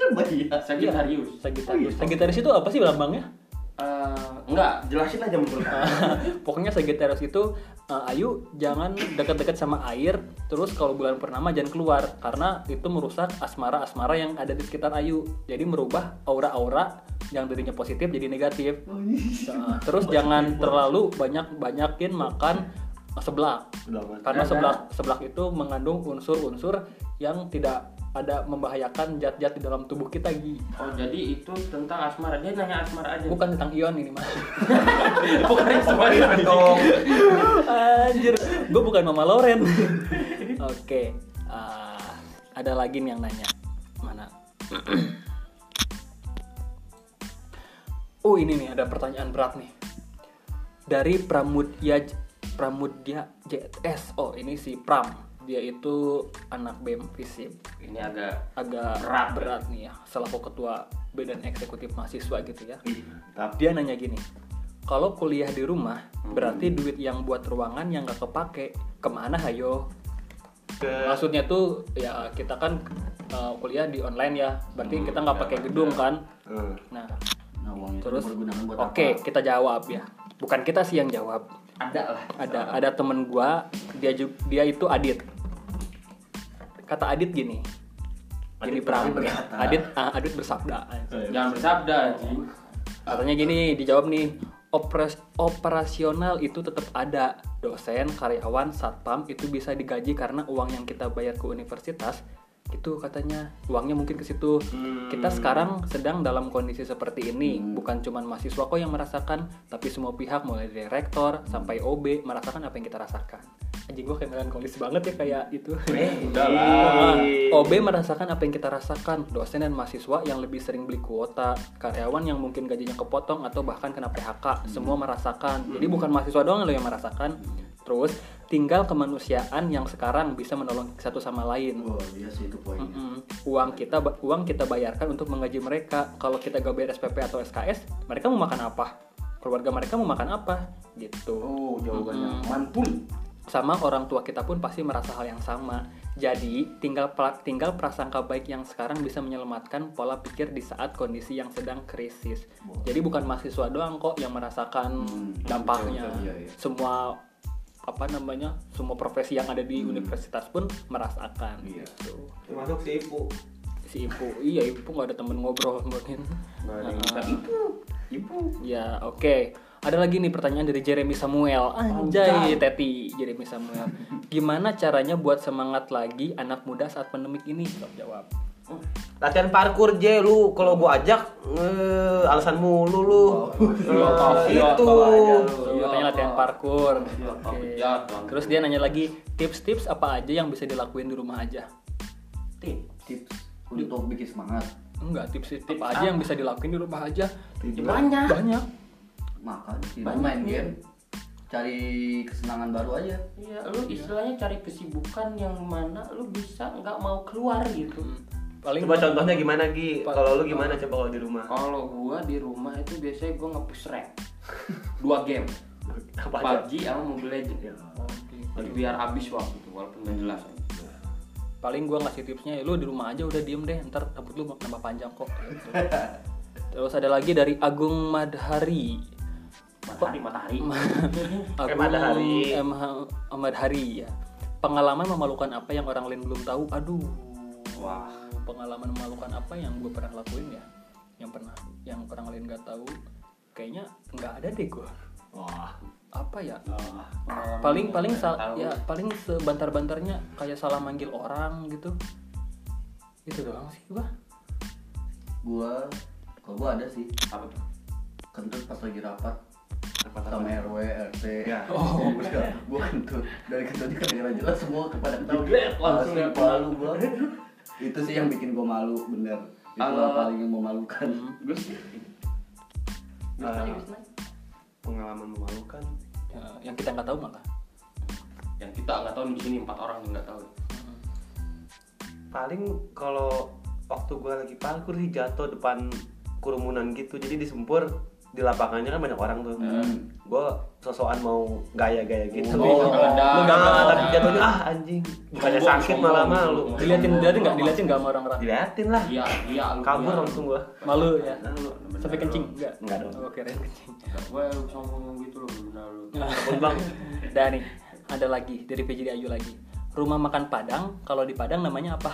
Speaker 5: Coba iya.
Speaker 2: Sagittarius.
Speaker 1: Sagittarius. Sagittarius itu apa sih lambangnya?
Speaker 2: Eh, enggak, jelasin aja menurut gua.
Speaker 1: Pokoknya Sagittarius itu eh, Ayu jangan dekat-dekat sama air. Terus kalau bulan purnama jangan keluar karena itu merusak asmara-asmara yang ada di sekitar Ayu. Jadi merubah aura-aura yang tadinya positif jadi negatif. Nah, terus jangan terlalu banyak-banyakin makan seblak. Karena seblak seblak itu mengandung unsur-unsur yang tidak ada membahayakan zat-zat di dalam tubuh kita Gi.
Speaker 2: Oh jadi itu tentang asmara dia nanya asmara aja. Iya,
Speaker 1: Bukan tentang ion ini mah.
Speaker 2: bukan yang semua itu.
Speaker 1: Anjir, gue bukan Mama Loren. Oke, ah, ada lagi nih yang nanya. Mana? oh ini nih ada pertanyaan berat nih. Dari Pramudya Pramudya JS. Oh ini si Pram. Dia itu anak BEM Visip.
Speaker 2: Ini agak
Speaker 1: agak
Speaker 2: Berat.
Speaker 1: berat nih ya selaku ketua badan eksekutif mahasiswa gitu ya
Speaker 3: Ih, tapi
Speaker 1: dia nanya gini kalau kuliah di rumah berarti duit yang buat ruangan yang gak kepake kemana hayo
Speaker 3: Ke-
Speaker 1: maksudnya tuh ya kita kan uh, kuliah di online ya berarti kita nggak pakai gedung kan
Speaker 3: Hmm.
Speaker 1: nah
Speaker 5: Nah, uang itu
Speaker 1: terus
Speaker 5: dipergunakan buat
Speaker 1: oke
Speaker 5: apa?
Speaker 1: kita jawab ya bukan kita sih yang jawab
Speaker 2: ada lah.
Speaker 1: ada ada temen gua dia ju- dia itu Adit kata Adit gini jadi perang Adit ah, Adit bersabda
Speaker 2: Jangan bersabda anjing.
Speaker 1: katanya gini dijawab nih opres- operasional itu tetap ada. Dosen, karyawan, satpam itu bisa digaji karena uang yang kita bayar ke universitas itu katanya uangnya mungkin ke situ. Kita sekarang sedang dalam kondisi seperti ini, bukan cuman mahasiswa kok yang merasakan, tapi semua pihak mulai dari rektor sampai OB merasakan apa yang kita rasakan. Anjing gua kayak melankolis banget ya kayak itu. Ah, OB merasakan apa yang kita rasakan, dosen dan mahasiswa yang lebih sering beli kuota, karyawan yang mungkin gajinya kepotong atau bahkan kena PHK, semua merasakan. Jadi bukan mahasiswa doang loh yang merasakan. Terus tinggal kemanusiaan yang sekarang bisa menolong satu sama lain.
Speaker 5: Wah, iya sih itu poinnya.
Speaker 1: Mm-mm. Uang kita ba- uang kita bayarkan untuk menggaji mereka. Kalau kita gak bayar SPP atau SKS, mereka mau makan apa? Keluarga mereka mau makan apa? Gitu
Speaker 5: Oh, jawabannya
Speaker 1: Mm-mm.
Speaker 5: mantul.
Speaker 1: sama orang tua kita pun pasti merasa hal yang sama. Jadi, tinggal pra- tinggal prasangka baik yang sekarang bisa menyelamatkan pola pikir di saat kondisi yang sedang krisis. Jadi bukan mahasiswa doang kok yang merasakan
Speaker 5: Hmm,
Speaker 1: dampaknya.
Speaker 5: betul, betul, iya, iya.
Speaker 1: Semua apa namanya? Semua profesi yang ada di universitas pun merasakan.
Speaker 5: Hmm. Iya.
Speaker 1: gitu.
Speaker 4: Termasuk si Ibu.
Speaker 1: Si Ibu, iya Ibu nggak ada temen ngobrol mungkin. Nah,
Speaker 5: Ibu.
Speaker 1: Ya, oke. Ada lagi nih pertanyaan dari Jeremy Samuel. Anjay, Teti. Jeremy Samuel. Gimana caranya buat semangat lagi anak muda saat pandemik ini? Stop jawab.
Speaker 4: Latihan parkur J lu kalau gua ajak eh, alasan mulu lu. Eh, itu. Oh,
Speaker 1: Terus
Speaker 4: iya,
Speaker 1: katanya latihan parkur. Oke.
Speaker 2: Ya, Bang.
Speaker 1: Terus dia nanya lagi, tips-tips apa aja yang bisa dilakuin di rumah aja?
Speaker 5: Tips untuk bikin semangat.
Speaker 1: Enggak, tips-tips apa aja yang bisa dilakuin di rumah aja?
Speaker 2: Banyak.
Speaker 1: Banyak.
Speaker 5: Makan, tidur, main game. Cari kesenangan baru aja.
Speaker 2: Iya, lu istilahnya cari kesibukan yang mana lu bisa nggak mau keluar gitu.
Speaker 1: Hmm. Paling
Speaker 4: Coba contohnya gimana Gi? Kalau lu gimana coba kalau di rumah?
Speaker 2: Kalau gua di rumah itu biasanya gua nge-push rank. Dua game.
Speaker 4: Apa aja?
Speaker 2: PUBG sama Mobile Legends. Jadi biar habis waktu itu walaupun nggak jelas.
Speaker 1: paling gua ngasih tipsnya ya lu di rumah aja udah diem deh ntar rambut lu nambah panjang kok gitu. terus ada lagi dari Agung Madhari
Speaker 2: Matahari, matahari.
Speaker 1: Agung
Speaker 4: Madhari.
Speaker 1: M. H- Madhari ya pengalaman memalukan apa yang orang lain belum tahu aduh
Speaker 2: Wah.
Speaker 1: pengalaman memalukan apa yang gue pernah lakuin ya yang pernah yang orang lain nggak tahu kayaknya nggak ada deh gue
Speaker 5: Wah.
Speaker 1: apa ya paling paling sal- ya paling sebantar-bantarnya kayak salah manggil orang gitu itu doang sih gua
Speaker 5: Gua kalau gua ada sih
Speaker 2: Apa tuh?
Speaker 5: kentut pas lagi rapat
Speaker 4: Apa
Speaker 5: sama RW, RT.
Speaker 4: Ya.
Speaker 5: Oh, udah. Gua kentut. Dari kentutnya kedengeran jelas semua kepada tahu.
Speaker 2: Diglek langsung
Speaker 5: Asli
Speaker 2: ya.
Speaker 5: malu gua. Itu sih yang bikin gua malu bener. Itu
Speaker 2: Kalau-
Speaker 5: paling yang memalukan.
Speaker 2: Gus. Gus
Speaker 4: Ah.
Speaker 2: nanya, Gus nanya.
Speaker 4: Pengalaman memalukan.
Speaker 1: Ya, yang kita nggak tahu malah
Speaker 2: Yang kita nggak tahu di sini empat orang yang nggak tahu.
Speaker 4: Paling kalau waktu gua lagi parkur sih jatuh depan kerumunan gitu. Jadi disempur di lapangannya kan banyak orang tuh. Gua sosokan mau gaya-gaya gitu.
Speaker 2: Hmm. Oh, meledak.
Speaker 4: Lu nggak mau, tapi
Speaker 2: Nah.
Speaker 4: jatuhnya ah anjing. Bukannya
Speaker 2: Sombong,
Speaker 4: sakit
Speaker 2: sombong, Iya.
Speaker 4: malah
Speaker 2: sombong.
Speaker 4: malu.
Speaker 1: diliatin diliatin nggak diliatin nggak sama orang-orang
Speaker 4: Diliatin lah.
Speaker 2: Iya, iya. lu
Speaker 4: Kabur
Speaker 2: iya.
Speaker 4: langsung gua.
Speaker 1: malu ya
Speaker 4: Malu.
Speaker 1: sampai kencing nggak
Speaker 4: Nggak dong.
Speaker 1: Oh, oke Ren, kencing
Speaker 2: Nggak, Gue sombong gitu loh benar lu.
Speaker 4: Takut bang.
Speaker 1: dan nih ada lagi dari PJ Ayu lagi rumah makan Padang kalau di Padang namanya apa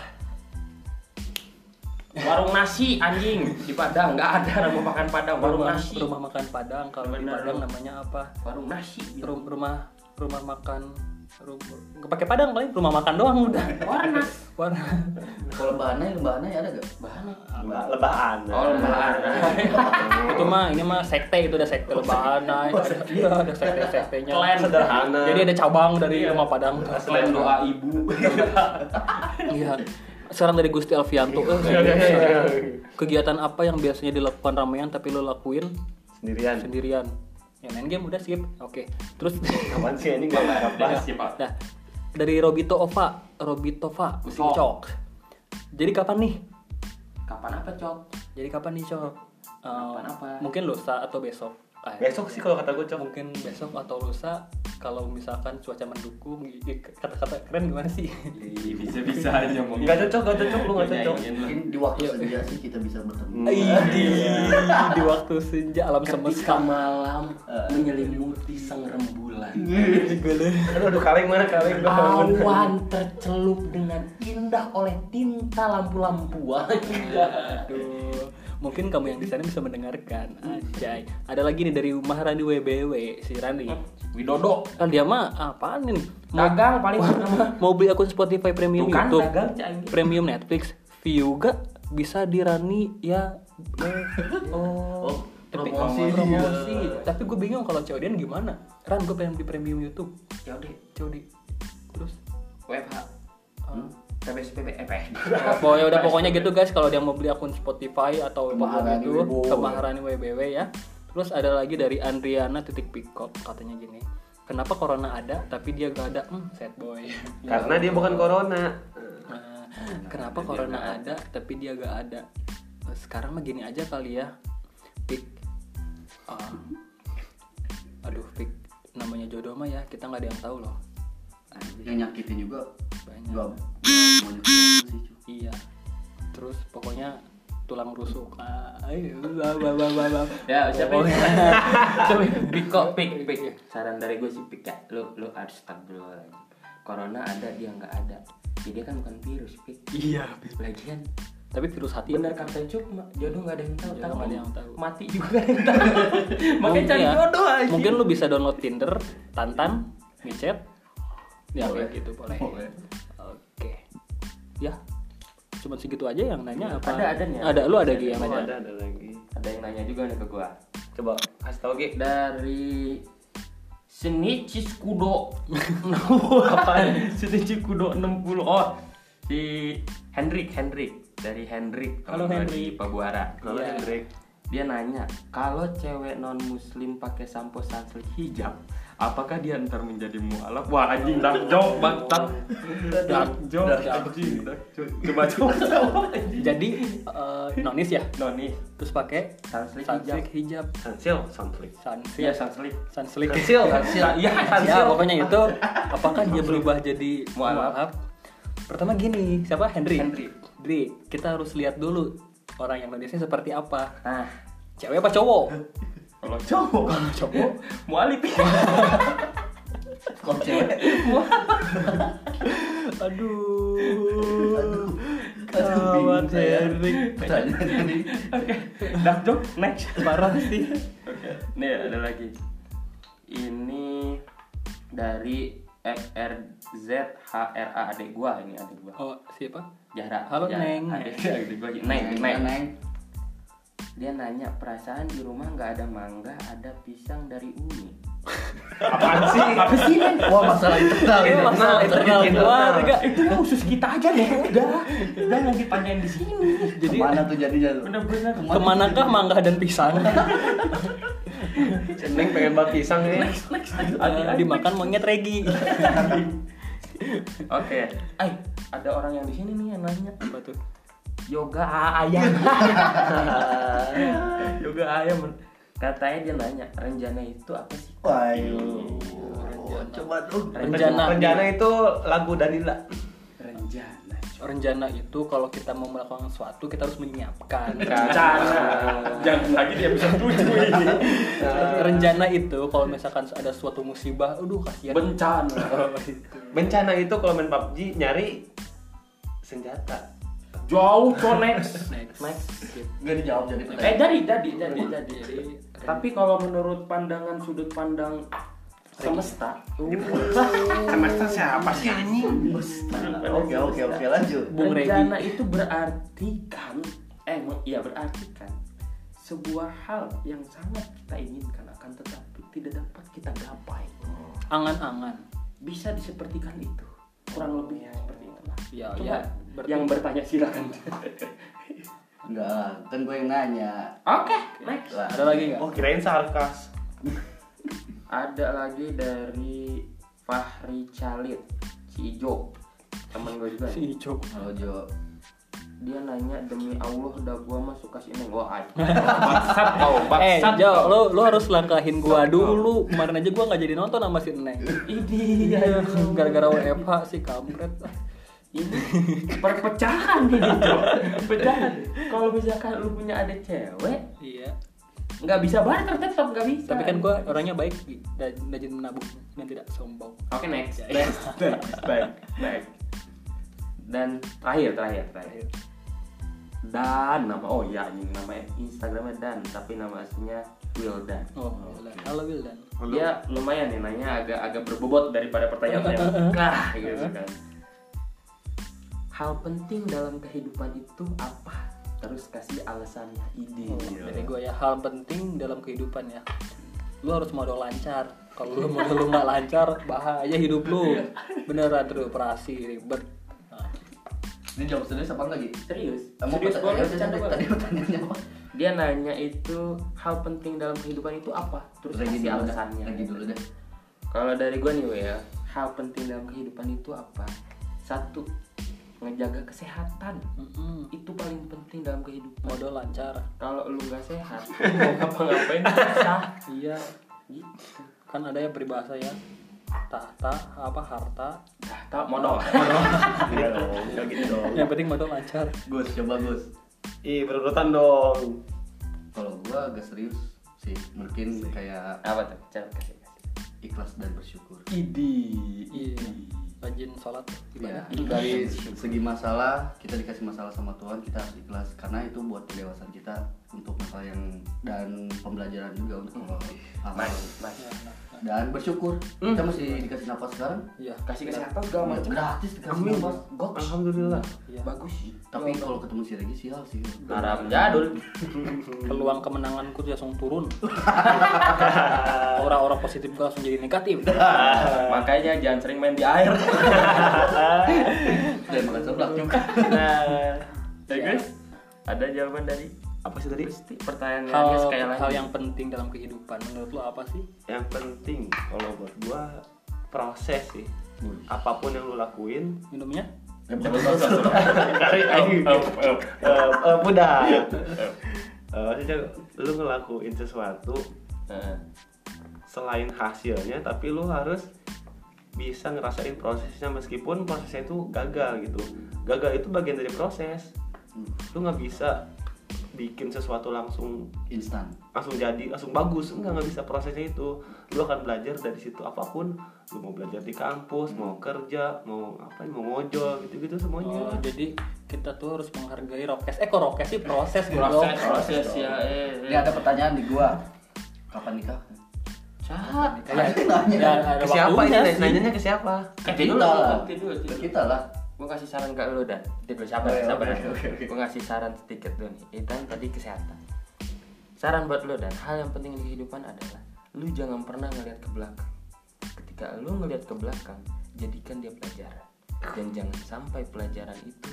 Speaker 2: Warung nasi anjing di Padang nggak ada nama makan Padang. Warung
Speaker 1: rumah,
Speaker 2: nasi.
Speaker 1: rumah makan Padang kalau di
Speaker 2: Benar,
Speaker 1: Padang
Speaker 2: lu.
Speaker 1: namanya apa
Speaker 2: Warung nasi. gitu.
Speaker 1: Rum- rumah rumah makan rumah pakai Padang paling rumah makan doang udah
Speaker 2: Warna.
Speaker 1: warna
Speaker 5: Kalau bahannya, bahannya ada gak?
Speaker 2: Bahan apa?
Speaker 4: Lebah- Lebahan.
Speaker 2: Oh, lembaran.
Speaker 1: itu mah ini mah sekte itu ada sekte lebahan nah,
Speaker 4: Oh,
Speaker 1: ada- iya ada sekte sektenya
Speaker 4: Klan Kan sederhana.
Speaker 1: jadi ada cabang dari
Speaker 2: Iya.
Speaker 1: rumah Padang
Speaker 4: Iya.
Speaker 2: Selain doa ibu.
Speaker 1: Iya. Sekarang dari Gusti Alfianto. Eh,
Speaker 4: iya.
Speaker 1: Kegiatan apa yang biasanya dilakukan ramean tapi lo lakuin
Speaker 4: Sendirian.
Speaker 1: sendirian? Ya main game udah skip. Oke. Terus
Speaker 4: Kapan sih ini nggak nggak bahas.
Speaker 2: Siapa?
Speaker 1: nah dari Robito Ova, Robitova, si
Speaker 2: Cok.
Speaker 1: Cok. Jadi kapan nih?
Speaker 2: Kapan apa cok?
Speaker 1: Jadi kapan nih, Cok? Eh,
Speaker 2: Kapan apa?
Speaker 1: Mungkin lusa atau besok. Ah,
Speaker 4: Besok sih kalau kata gua cok.
Speaker 1: mungkin besok atau lusa kalau misalkan cuaca mendukung i- kata-kata keren gimana sih?
Speaker 2: Ih, Bisa-bisa aja mau.
Speaker 4: Gak cocok, gak cocok, lu
Speaker 2: Iya,
Speaker 4: gak cocok.
Speaker 5: Mungkin di waktu senja sih kita bisa bertemu.
Speaker 1: Iya. Di waktu senja alam semesta.
Speaker 2: Ketika malam
Speaker 7: Eh.
Speaker 2: menyelimuti sang rembulan.
Speaker 7: Iya,
Speaker 2: iya.
Speaker 4: Aduh, aduh kaleng mana kaleng
Speaker 2: Ah.
Speaker 4: bangun.
Speaker 2: Awan
Speaker 7: Iya.
Speaker 2: tercelup dengan indah oleh tinta lampu-lampuan.
Speaker 1: Aduh. Mungkin kamu yang di sana bisa mendengarkan. Anjay. Ada lagi nih dari Maharani WBW si Randi.
Speaker 7: Widodo
Speaker 1: Kan dia mah apaan nih? Mau,
Speaker 7: dagang paling pertama
Speaker 1: mau beli akun Spotify Premium
Speaker 7: Tuh kan,
Speaker 1: YouTube,
Speaker 7: dagang, Cak, anjing.
Speaker 1: Premium Netflix, view ga bisa di Rani ya.
Speaker 8: Oh,
Speaker 1: Tapi
Speaker 8: promosi dia.
Speaker 1: promosi. Tapi gue bingung kalau COD-an gimana? Ran gue pengen beli premium YouTube.
Speaker 7: ya udah
Speaker 1: COD. Terus
Speaker 7: WFH PBS PBS
Speaker 1: Oh, ya udah pokoknya gitu guys kalau dia mau beli akun Spotify atau apapun
Speaker 5: Kemaharani
Speaker 1: itu
Speaker 5: Weibo.
Speaker 1: kemaharani WBW ya. Terus ada lagi dari Andriana titik pikop katanya gini. Kenapa corona ada tapi dia gak ada? Hmm, sad boy.
Speaker 4: Karena dia bukan corona.
Speaker 1: Nah, Kenapa corona ada tapi dia gak ada? Eh, Sekarang mah gini aja kali ya. Pik. Ah. aduh, pik. Namanya jodoh mah ya kita nggak ada yang tahu loh.
Speaker 7: Hmm.
Speaker 5: yang nyakitin juga
Speaker 1: Banyak.
Speaker 5: nggak mau nyakitin sih cuy
Speaker 1: Iya. Terus pokoknya tulang rusuk. Ah, ayo, bah, bah, bah, bah, bah.
Speaker 7: ya siapa ini
Speaker 1: Siapa ini?
Speaker 7: Piko pik pik saran dari gue sih pik ya lu lu harus astagfirullah corona ada dia nggak ada jadi kan bukan virus pik
Speaker 1: Iya.
Speaker 7: lagian
Speaker 1: Tapi virus hati
Speaker 7: benar kata Cuk ma- jodoh nggak ada yang tahu
Speaker 1: Jodoh
Speaker 7: tahu
Speaker 1: nggak ada yang tahu.
Speaker 7: mati juga nggak ada yang tahu makanya cari
Speaker 1: ya.
Speaker 7: jodoh aja
Speaker 1: Mungkin lu bisa download Tinder, Tantan, micet. Ya kayak gitu boleh. Oke. Ya. Cuman segitu aja yang nanya apa?
Speaker 7: Ada, ada nih.
Speaker 1: Ada lu ada Gi yang
Speaker 4: Oh,
Speaker 1: nanya.
Speaker 4: ada ada lagi.
Speaker 7: ada yang nanya juga nih ke gue
Speaker 4: Coba kasih tau Gi.
Speaker 7: dari seni Ciskudo apa seni Ciskudo 60 oh si Hendrik Hendrik dari Hendrik
Speaker 1: Halo,
Speaker 7: teman gua
Speaker 1: Hendrik.
Speaker 7: di Pabuara
Speaker 4: Lalu
Speaker 1: Iya.
Speaker 4: Hendrik.
Speaker 7: dia nanya kalau cewek non muslim pakai sampo sunsilk hijab apakah dia ntar menjadi mualaf wah anjing dark joke bangsat dark joke anjing dark joke. coba coba coba anjing.
Speaker 1: Jadi eh, nonis ya.
Speaker 7: nonis
Speaker 1: Terus pakai
Speaker 7: Sunsilk
Speaker 1: sunsilk hijab. ya,
Speaker 4: Sansil, Sanflik.
Speaker 7: iya
Speaker 1: Sunsilk.
Speaker 7: sunsilk
Speaker 1: Sunsilk.
Speaker 4: Sansil,
Speaker 7: sunsilk iya
Speaker 1: Ya,
Speaker 7: sunsilk
Speaker 1: pokoknya itu apakah dia berubah jadi
Speaker 7: Mualaf.
Speaker 1: mualaf? Pertama gini, siapa Henry?
Speaker 7: Henry.
Speaker 1: Dri, kita harus lihat dulu orang yang nonisnya seperti apa.
Speaker 7: nah
Speaker 1: Cewek apa cowok?
Speaker 7: kalau cowok kan
Speaker 1: Kalau cowok,
Speaker 7: mualif
Speaker 5: kalau cewek
Speaker 1: aduh.
Speaker 5: aduh
Speaker 1: Kawan
Speaker 5: bingung saya
Speaker 1: Henry.
Speaker 5: pertanyaan tadi
Speaker 7: Oke, dark joke next.
Speaker 1: Parah sih.
Speaker 7: Oke, nih ada lagi. Ini dari FRZHRA adik gua ini adik gua.
Speaker 1: Oh, siapa?
Speaker 7: Jahra.
Speaker 1: Halo,
Speaker 7: Jahra.
Speaker 1: Neng.
Speaker 7: Adik, adik gua. Neng, Neng. Dia nanya perasaan di rumah nggak ada mangga, ada pisang dari umi.
Speaker 4: Apaan sih?
Speaker 7: Apa sih Neng?
Speaker 5: wah masalah internal
Speaker 1: Ini
Speaker 5: ini
Speaker 1: masalah internal keluarga.
Speaker 7: Itu mah khusus kita aja deh. Udah, jangan dipanjain di sini.
Speaker 1: Jadi
Speaker 5: kemana tuh jadinya tuh
Speaker 7: Bener-bener.
Speaker 1: kemanakah mangga dan pisang?
Speaker 4: Neng pengen banget pisang ya. nih.
Speaker 7: Next,
Speaker 1: Eh, Dimakan monyet regi.
Speaker 7: Oke. Ay, ada orang yang di sini nih yang nanya.
Speaker 1: Apa tuh?
Speaker 7: yoga ayam yoga ayam men. katanya dia nanya rencana itu apa sih
Speaker 5: Waduh, coba tuh
Speaker 1: Rencana.
Speaker 4: Rencana itu lagu Danila.
Speaker 5: rencana
Speaker 1: Rencana itu kalau kita mau melakukan sesuatu kita harus menyiapkan.
Speaker 7: jangan lagi dia bisa tujuh ini
Speaker 1: Rencana itu kalau misalkan ada suatu musibah, aduh kasihan.
Speaker 7: bencana
Speaker 4: Bencana itu kalau main PUBG nyari senjata.
Speaker 7: jauh connect
Speaker 1: Next. Gitu.
Speaker 5: gak dijawab jadi pertanyaan
Speaker 7: eh jadi jadi jadi jadi tapi kalau menurut pandangan sudut pandang semesta
Speaker 4: Semester siapa sih anjing?
Speaker 5: oke oke oke lanjut
Speaker 1: Bung Regi.
Speaker 7: rencana itu berarti kan eh me- iya berarti kan sebuah hal yang sangat kita inginkan akan tetapi tidak dapat kita gapai
Speaker 1: Angan-angan.
Speaker 7: bisa disepertikan itu kurang lebih ya seperti itu
Speaker 1: Ya,
Speaker 7: Coba
Speaker 1: ya, berarti-
Speaker 7: yang bertanya silakan
Speaker 5: enggak lah kan gue yang nanya
Speaker 7: oke next
Speaker 5: lah
Speaker 1: Ada lagi nggak?
Speaker 4: Oh kirain sarkas.
Speaker 7: ada lagi dari Fahri Khalid si Ijo temen gue juga
Speaker 1: Si Ijo.
Speaker 5: halo Jo
Speaker 7: dia nanya demi Allah udah gua masuk kasih ini gua ay bangsat kau
Speaker 1: Eh,
Speaker 7: bangsat
Speaker 1: Jo, lu lu harus langkahin gua dulu. Kemarin aja gua nggak jadi nonton sama si Neng. Iya,
Speaker 7: ini
Speaker 1: Gara-gara WFH si kampret.
Speaker 7: ini perpecahan nih gitu perpecahan kalau misalkan lu punya ada cewek
Speaker 1: Iya.
Speaker 7: nggak bisa barter tetap nggak bisa
Speaker 1: Tapi kan gua orangnya baik Gi, dan rajin menabung dan tidak sombong.
Speaker 7: oke next next next baik baik dan terakhir terakhir terakhir Dan nama oh iya anjing namanya Instagramnya Dan tapi nama aslinya Wildan.
Speaker 1: Oh, Wildan. Halo Wildan.
Speaker 7: Dia lumayan ya nanya agak agak berbobot daripada pertanyaannya. Nah, gitu kan. Hal penting dalam kehidupan itu apa? Terus kasih alasannya ide.
Speaker 1: Dari gue ya hal penting dalam kehidupan ya. Lu harus modal lancar. Kalau lu modal lu nggak lancar, bahaya hidup lu.
Speaker 7: Iya.
Speaker 1: Beneran teroperasi ribet. Nah,
Speaker 5: Ini jawab serius apa enggak, Gi?
Speaker 7: Serius?
Speaker 5: Emang
Speaker 7: Serius
Speaker 5: pertanyaan-
Speaker 7: banget,
Speaker 5: tadi-
Speaker 7: bercanda banget.
Speaker 5: Tadi pertanyaannya apa?
Speaker 7: Dia nanya itu hal penting dalam kehidupan itu apa? Terus
Speaker 5: Regi
Speaker 7: kasih
Speaker 5: dulu,
Speaker 7: alasannya.
Speaker 5: Regi dulu deh.
Speaker 7: Kalau dari gua nih Wei, ya, hal penting dalam kehidupan itu apa? Satu, ngejaga kesehatan.
Speaker 1: mm-mm.
Speaker 7: Itu paling penting dalam kehidupan.
Speaker 1: Modal lancar.
Speaker 7: Kalau lu nggak sehat, lu mau ngapa-ngapain susah.
Speaker 1: Iya,
Speaker 7: Gitu.
Speaker 1: kan ada yang peribahasa ya. Tahta apa harta?
Speaker 7: Dah, tak modal.
Speaker 1: Oh.
Speaker 4: Iya dong, nggak gitu dong.
Speaker 1: Yang penting modal lancar.
Speaker 5: Gus, coba Gus.
Speaker 4: Ih, berurutan dong.
Speaker 5: Kalau gua agak serius sih, mungkin kayak
Speaker 7: Apa tuh? Coba kasih kasih.
Speaker 5: ikhlas dan bersyukur.
Speaker 7: Idi,
Speaker 1: Iya. Rajin sholat
Speaker 5: Ya,
Speaker 7: Iya.
Speaker 1: gimana?
Speaker 5: dari segi masalah kita dikasih masalah sama Tuhan kita harus ikhlas karena itu buat kedewasaan kita untuk masalah yang dan pembelajaran juga untuk
Speaker 7: Iya.
Speaker 5: amal
Speaker 7: Mas,
Speaker 5: dan bersyukur
Speaker 7: Hmm.
Speaker 5: kita masih dikasih nafas sekarang
Speaker 1: Iya.
Speaker 7: kasih kesehatan segala
Speaker 5: Ya,
Speaker 7: macam.
Speaker 5: gratis dikasih
Speaker 4: Amin.
Speaker 5: nafas Gok.
Speaker 4: Alhamdulillah.
Speaker 1: Iya.
Speaker 7: Bagus.
Speaker 5: tapi kalau ketemu si Regi sial sih
Speaker 7: Haram jadul.
Speaker 1: Iya. Peluang kemenanganku langsung turun. Orang-orang positif gue langsung jadi negatif.
Speaker 7: Iya, Makanya jangan sering main di air.
Speaker 5: dan makan seblak juga
Speaker 7: Nah, guys, ada jawaban dari
Speaker 4: Apa sih tadi?
Speaker 7: Pasti pertanyaannya
Speaker 1: hal,
Speaker 7: sekali lagi.
Speaker 1: hal yang penting dalam kehidupan menurut lo apa sih?
Speaker 4: Yang penting kalau buat gua proses sih. Apapun yang lu lakuin,
Speaker 1: Minumnya?
Speaker 4: Cari aing. Eh, eh, mudah. Eh, Maksudnya lu ngelakuin sesuatu
Speaker 7: Heeh.
Speaker 4: selain hasilnya, tapi lu harus bisa ngerasain prosesnya meskipun prosesnya itu gagal gitu. Gagal itu bagian dari proses. Lu nggak bisa bikin sesuatu langsung
Speaker 5: instan
Speaker 4: langsung jadi langsung bagus enggak nggak bisa prosesnya itu lu akan belajar dari situ apapun lu mau belajar di kampus mau kerja mau apa mau ngojol gitu gitu
Speaker 1: Oh,
Speaker 4: semuanya
Speaker 1: jadi kita tuh harus menghargai rokes. Eh kok rokes sih proses gitu.
Speaker 7: proses proses ya eh,
Speaker 5: ini ada pertanyaan di gua kapan nikah
Speaker 7: cak
Speaker 1: Kayak
Speaker 5: Nanya.
Speaker 1: ya, ada
Speaker 4: ke siapa
Speaker 1: waktunya
Speaker 4: ini
Speaker 1: sih.
Speaker 4: nanyanya ke siapa
Speaker 7: Ke
Speaker 5: kita
Speaker 7: dulu
Speaker 5: lah
Speaker 7: lah, ke dulu, ke
Speaker 5: Ke
Speaker 7: dulu.
Speaker 5: kita lah
Speaker 7: gue kasih saran ke lu dan tidur sabar
Speaker 5: Oke,
Speaker 7: sabar
Speaker 5: oke, oke, oke.
Speaker 7: gue ngasih saran sedikit dulu nih itu tadi kesehatan saran buat lu dan hal yang penting di kehidupan adalah lu jangan pernah ngelihat ke belakang ketika lu ngelihat ke belakang jadikan dia pelajaran dan jangan sampai pelajaran itu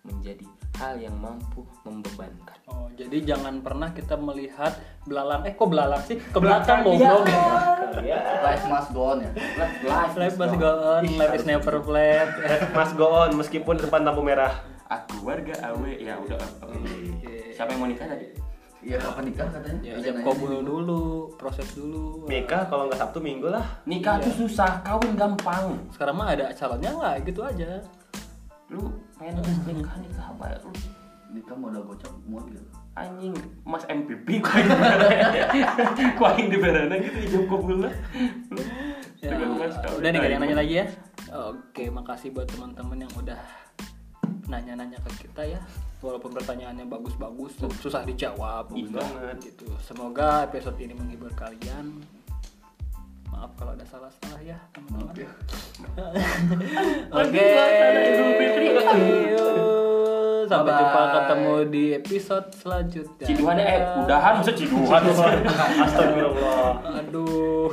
Speaker 7: menjadi hal yang mampu membebankan
Speaker 1: Oh, jadi jangan pernah kita melihat belalang. Eh kok belalang sih? Ke belakang goblok.
Speaker 7: iya.
Speaker 4: ya
Speaker 5: life must go on ya
Speaker 1: Life life masih go on, life is never Eh, flat.
Speaker 4: Eh, mas go on meskipun di depan lampu merah
Speaker 7: aku warga awe ya udah
Speaker 1: Hmm.
Speaker 7: siapa yang mau nikah tadi
Speaker 5: iya kapan nikah katanya
Speaker 1: Ya,
Speaker 5: Ada
Speaker 1: ijab
Speaker 5: nanya
Speaker 1: kabul dulu, proses dulu.
Speaker 4: nikah kalau nggak sabtu minggu lah
Speaker 7: nikah tuh
Speaker 1: Iya.
Speaker 7: susah kawin gampang
Speaker 1: Sekarang mah ada calonnya nggak? Gitu aja.
Speaker 7: lu pengen nikah nikah apa ya lu
Speaker 5: nikah kan modal gocap muat gitu
Speaker 7: anjing mas MPP kuain di berana kuain di berana gitu hijau kubul lah
Speaker 1: Ya, udah nih gak ada yang nanya lagi ya oke makasih buat teman-teman yang udah nanya-nanya ke kita ya walaupun pertanyaannya bagus-bagus susah dijawab
Speaker 4: Bagus
Speaker 1: udah,
Speaker 4: banget.
Speaker 1: gitu semoga episode ini menghibur kalian maaf kalau ada salah-salah ya teman-teman
Speaker 5: ya.
Speaker 1: oke yuk, sampai
Speaker 5: Bye-bye.
Speaker 1: jumpa ketemu di episode selanjutnya
Speaker 7: ciduhannya eh udahan masa ciduhan
Speaker 4: astagfirullah
Speaker 1: aduh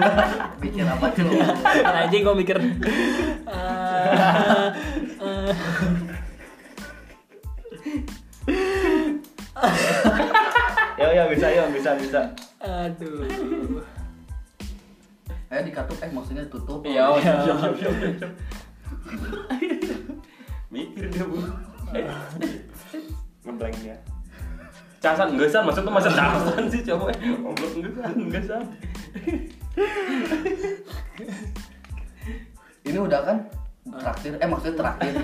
Speaker 5: pikir apa tuh
Speaker 1: anjing gue mikir Ah, ah.
Speaker 4: ya ya bisa ya bisa bisa
Speaker 1: Aduh.
Speaker 5: eh dikatup eh maksudnya tutup
Speaker 7: iya oh, siap, siap, siap, siap, siap, siap. mikir dia bu eh
Speaker 4: ngeblank dia
Speaker 7: casan enggak san maksud tuh masa casan sih coba ngobrol enggak san enggak san
Speaker 5: ini udah kan traktir eh maksudnya terakhir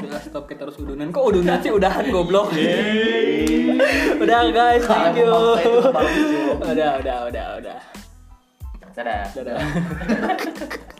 Speaker 1: Udah stop kita harus udunan. Kok udunan sih udahan goblok. udah guys, thank you.
Speaker 5: Kalau memaksa itu bagus, Jo.
Speaker 1: udah, udah, udah, udah.
Speaker 9: Dadah.
Speaker 7: Dadah.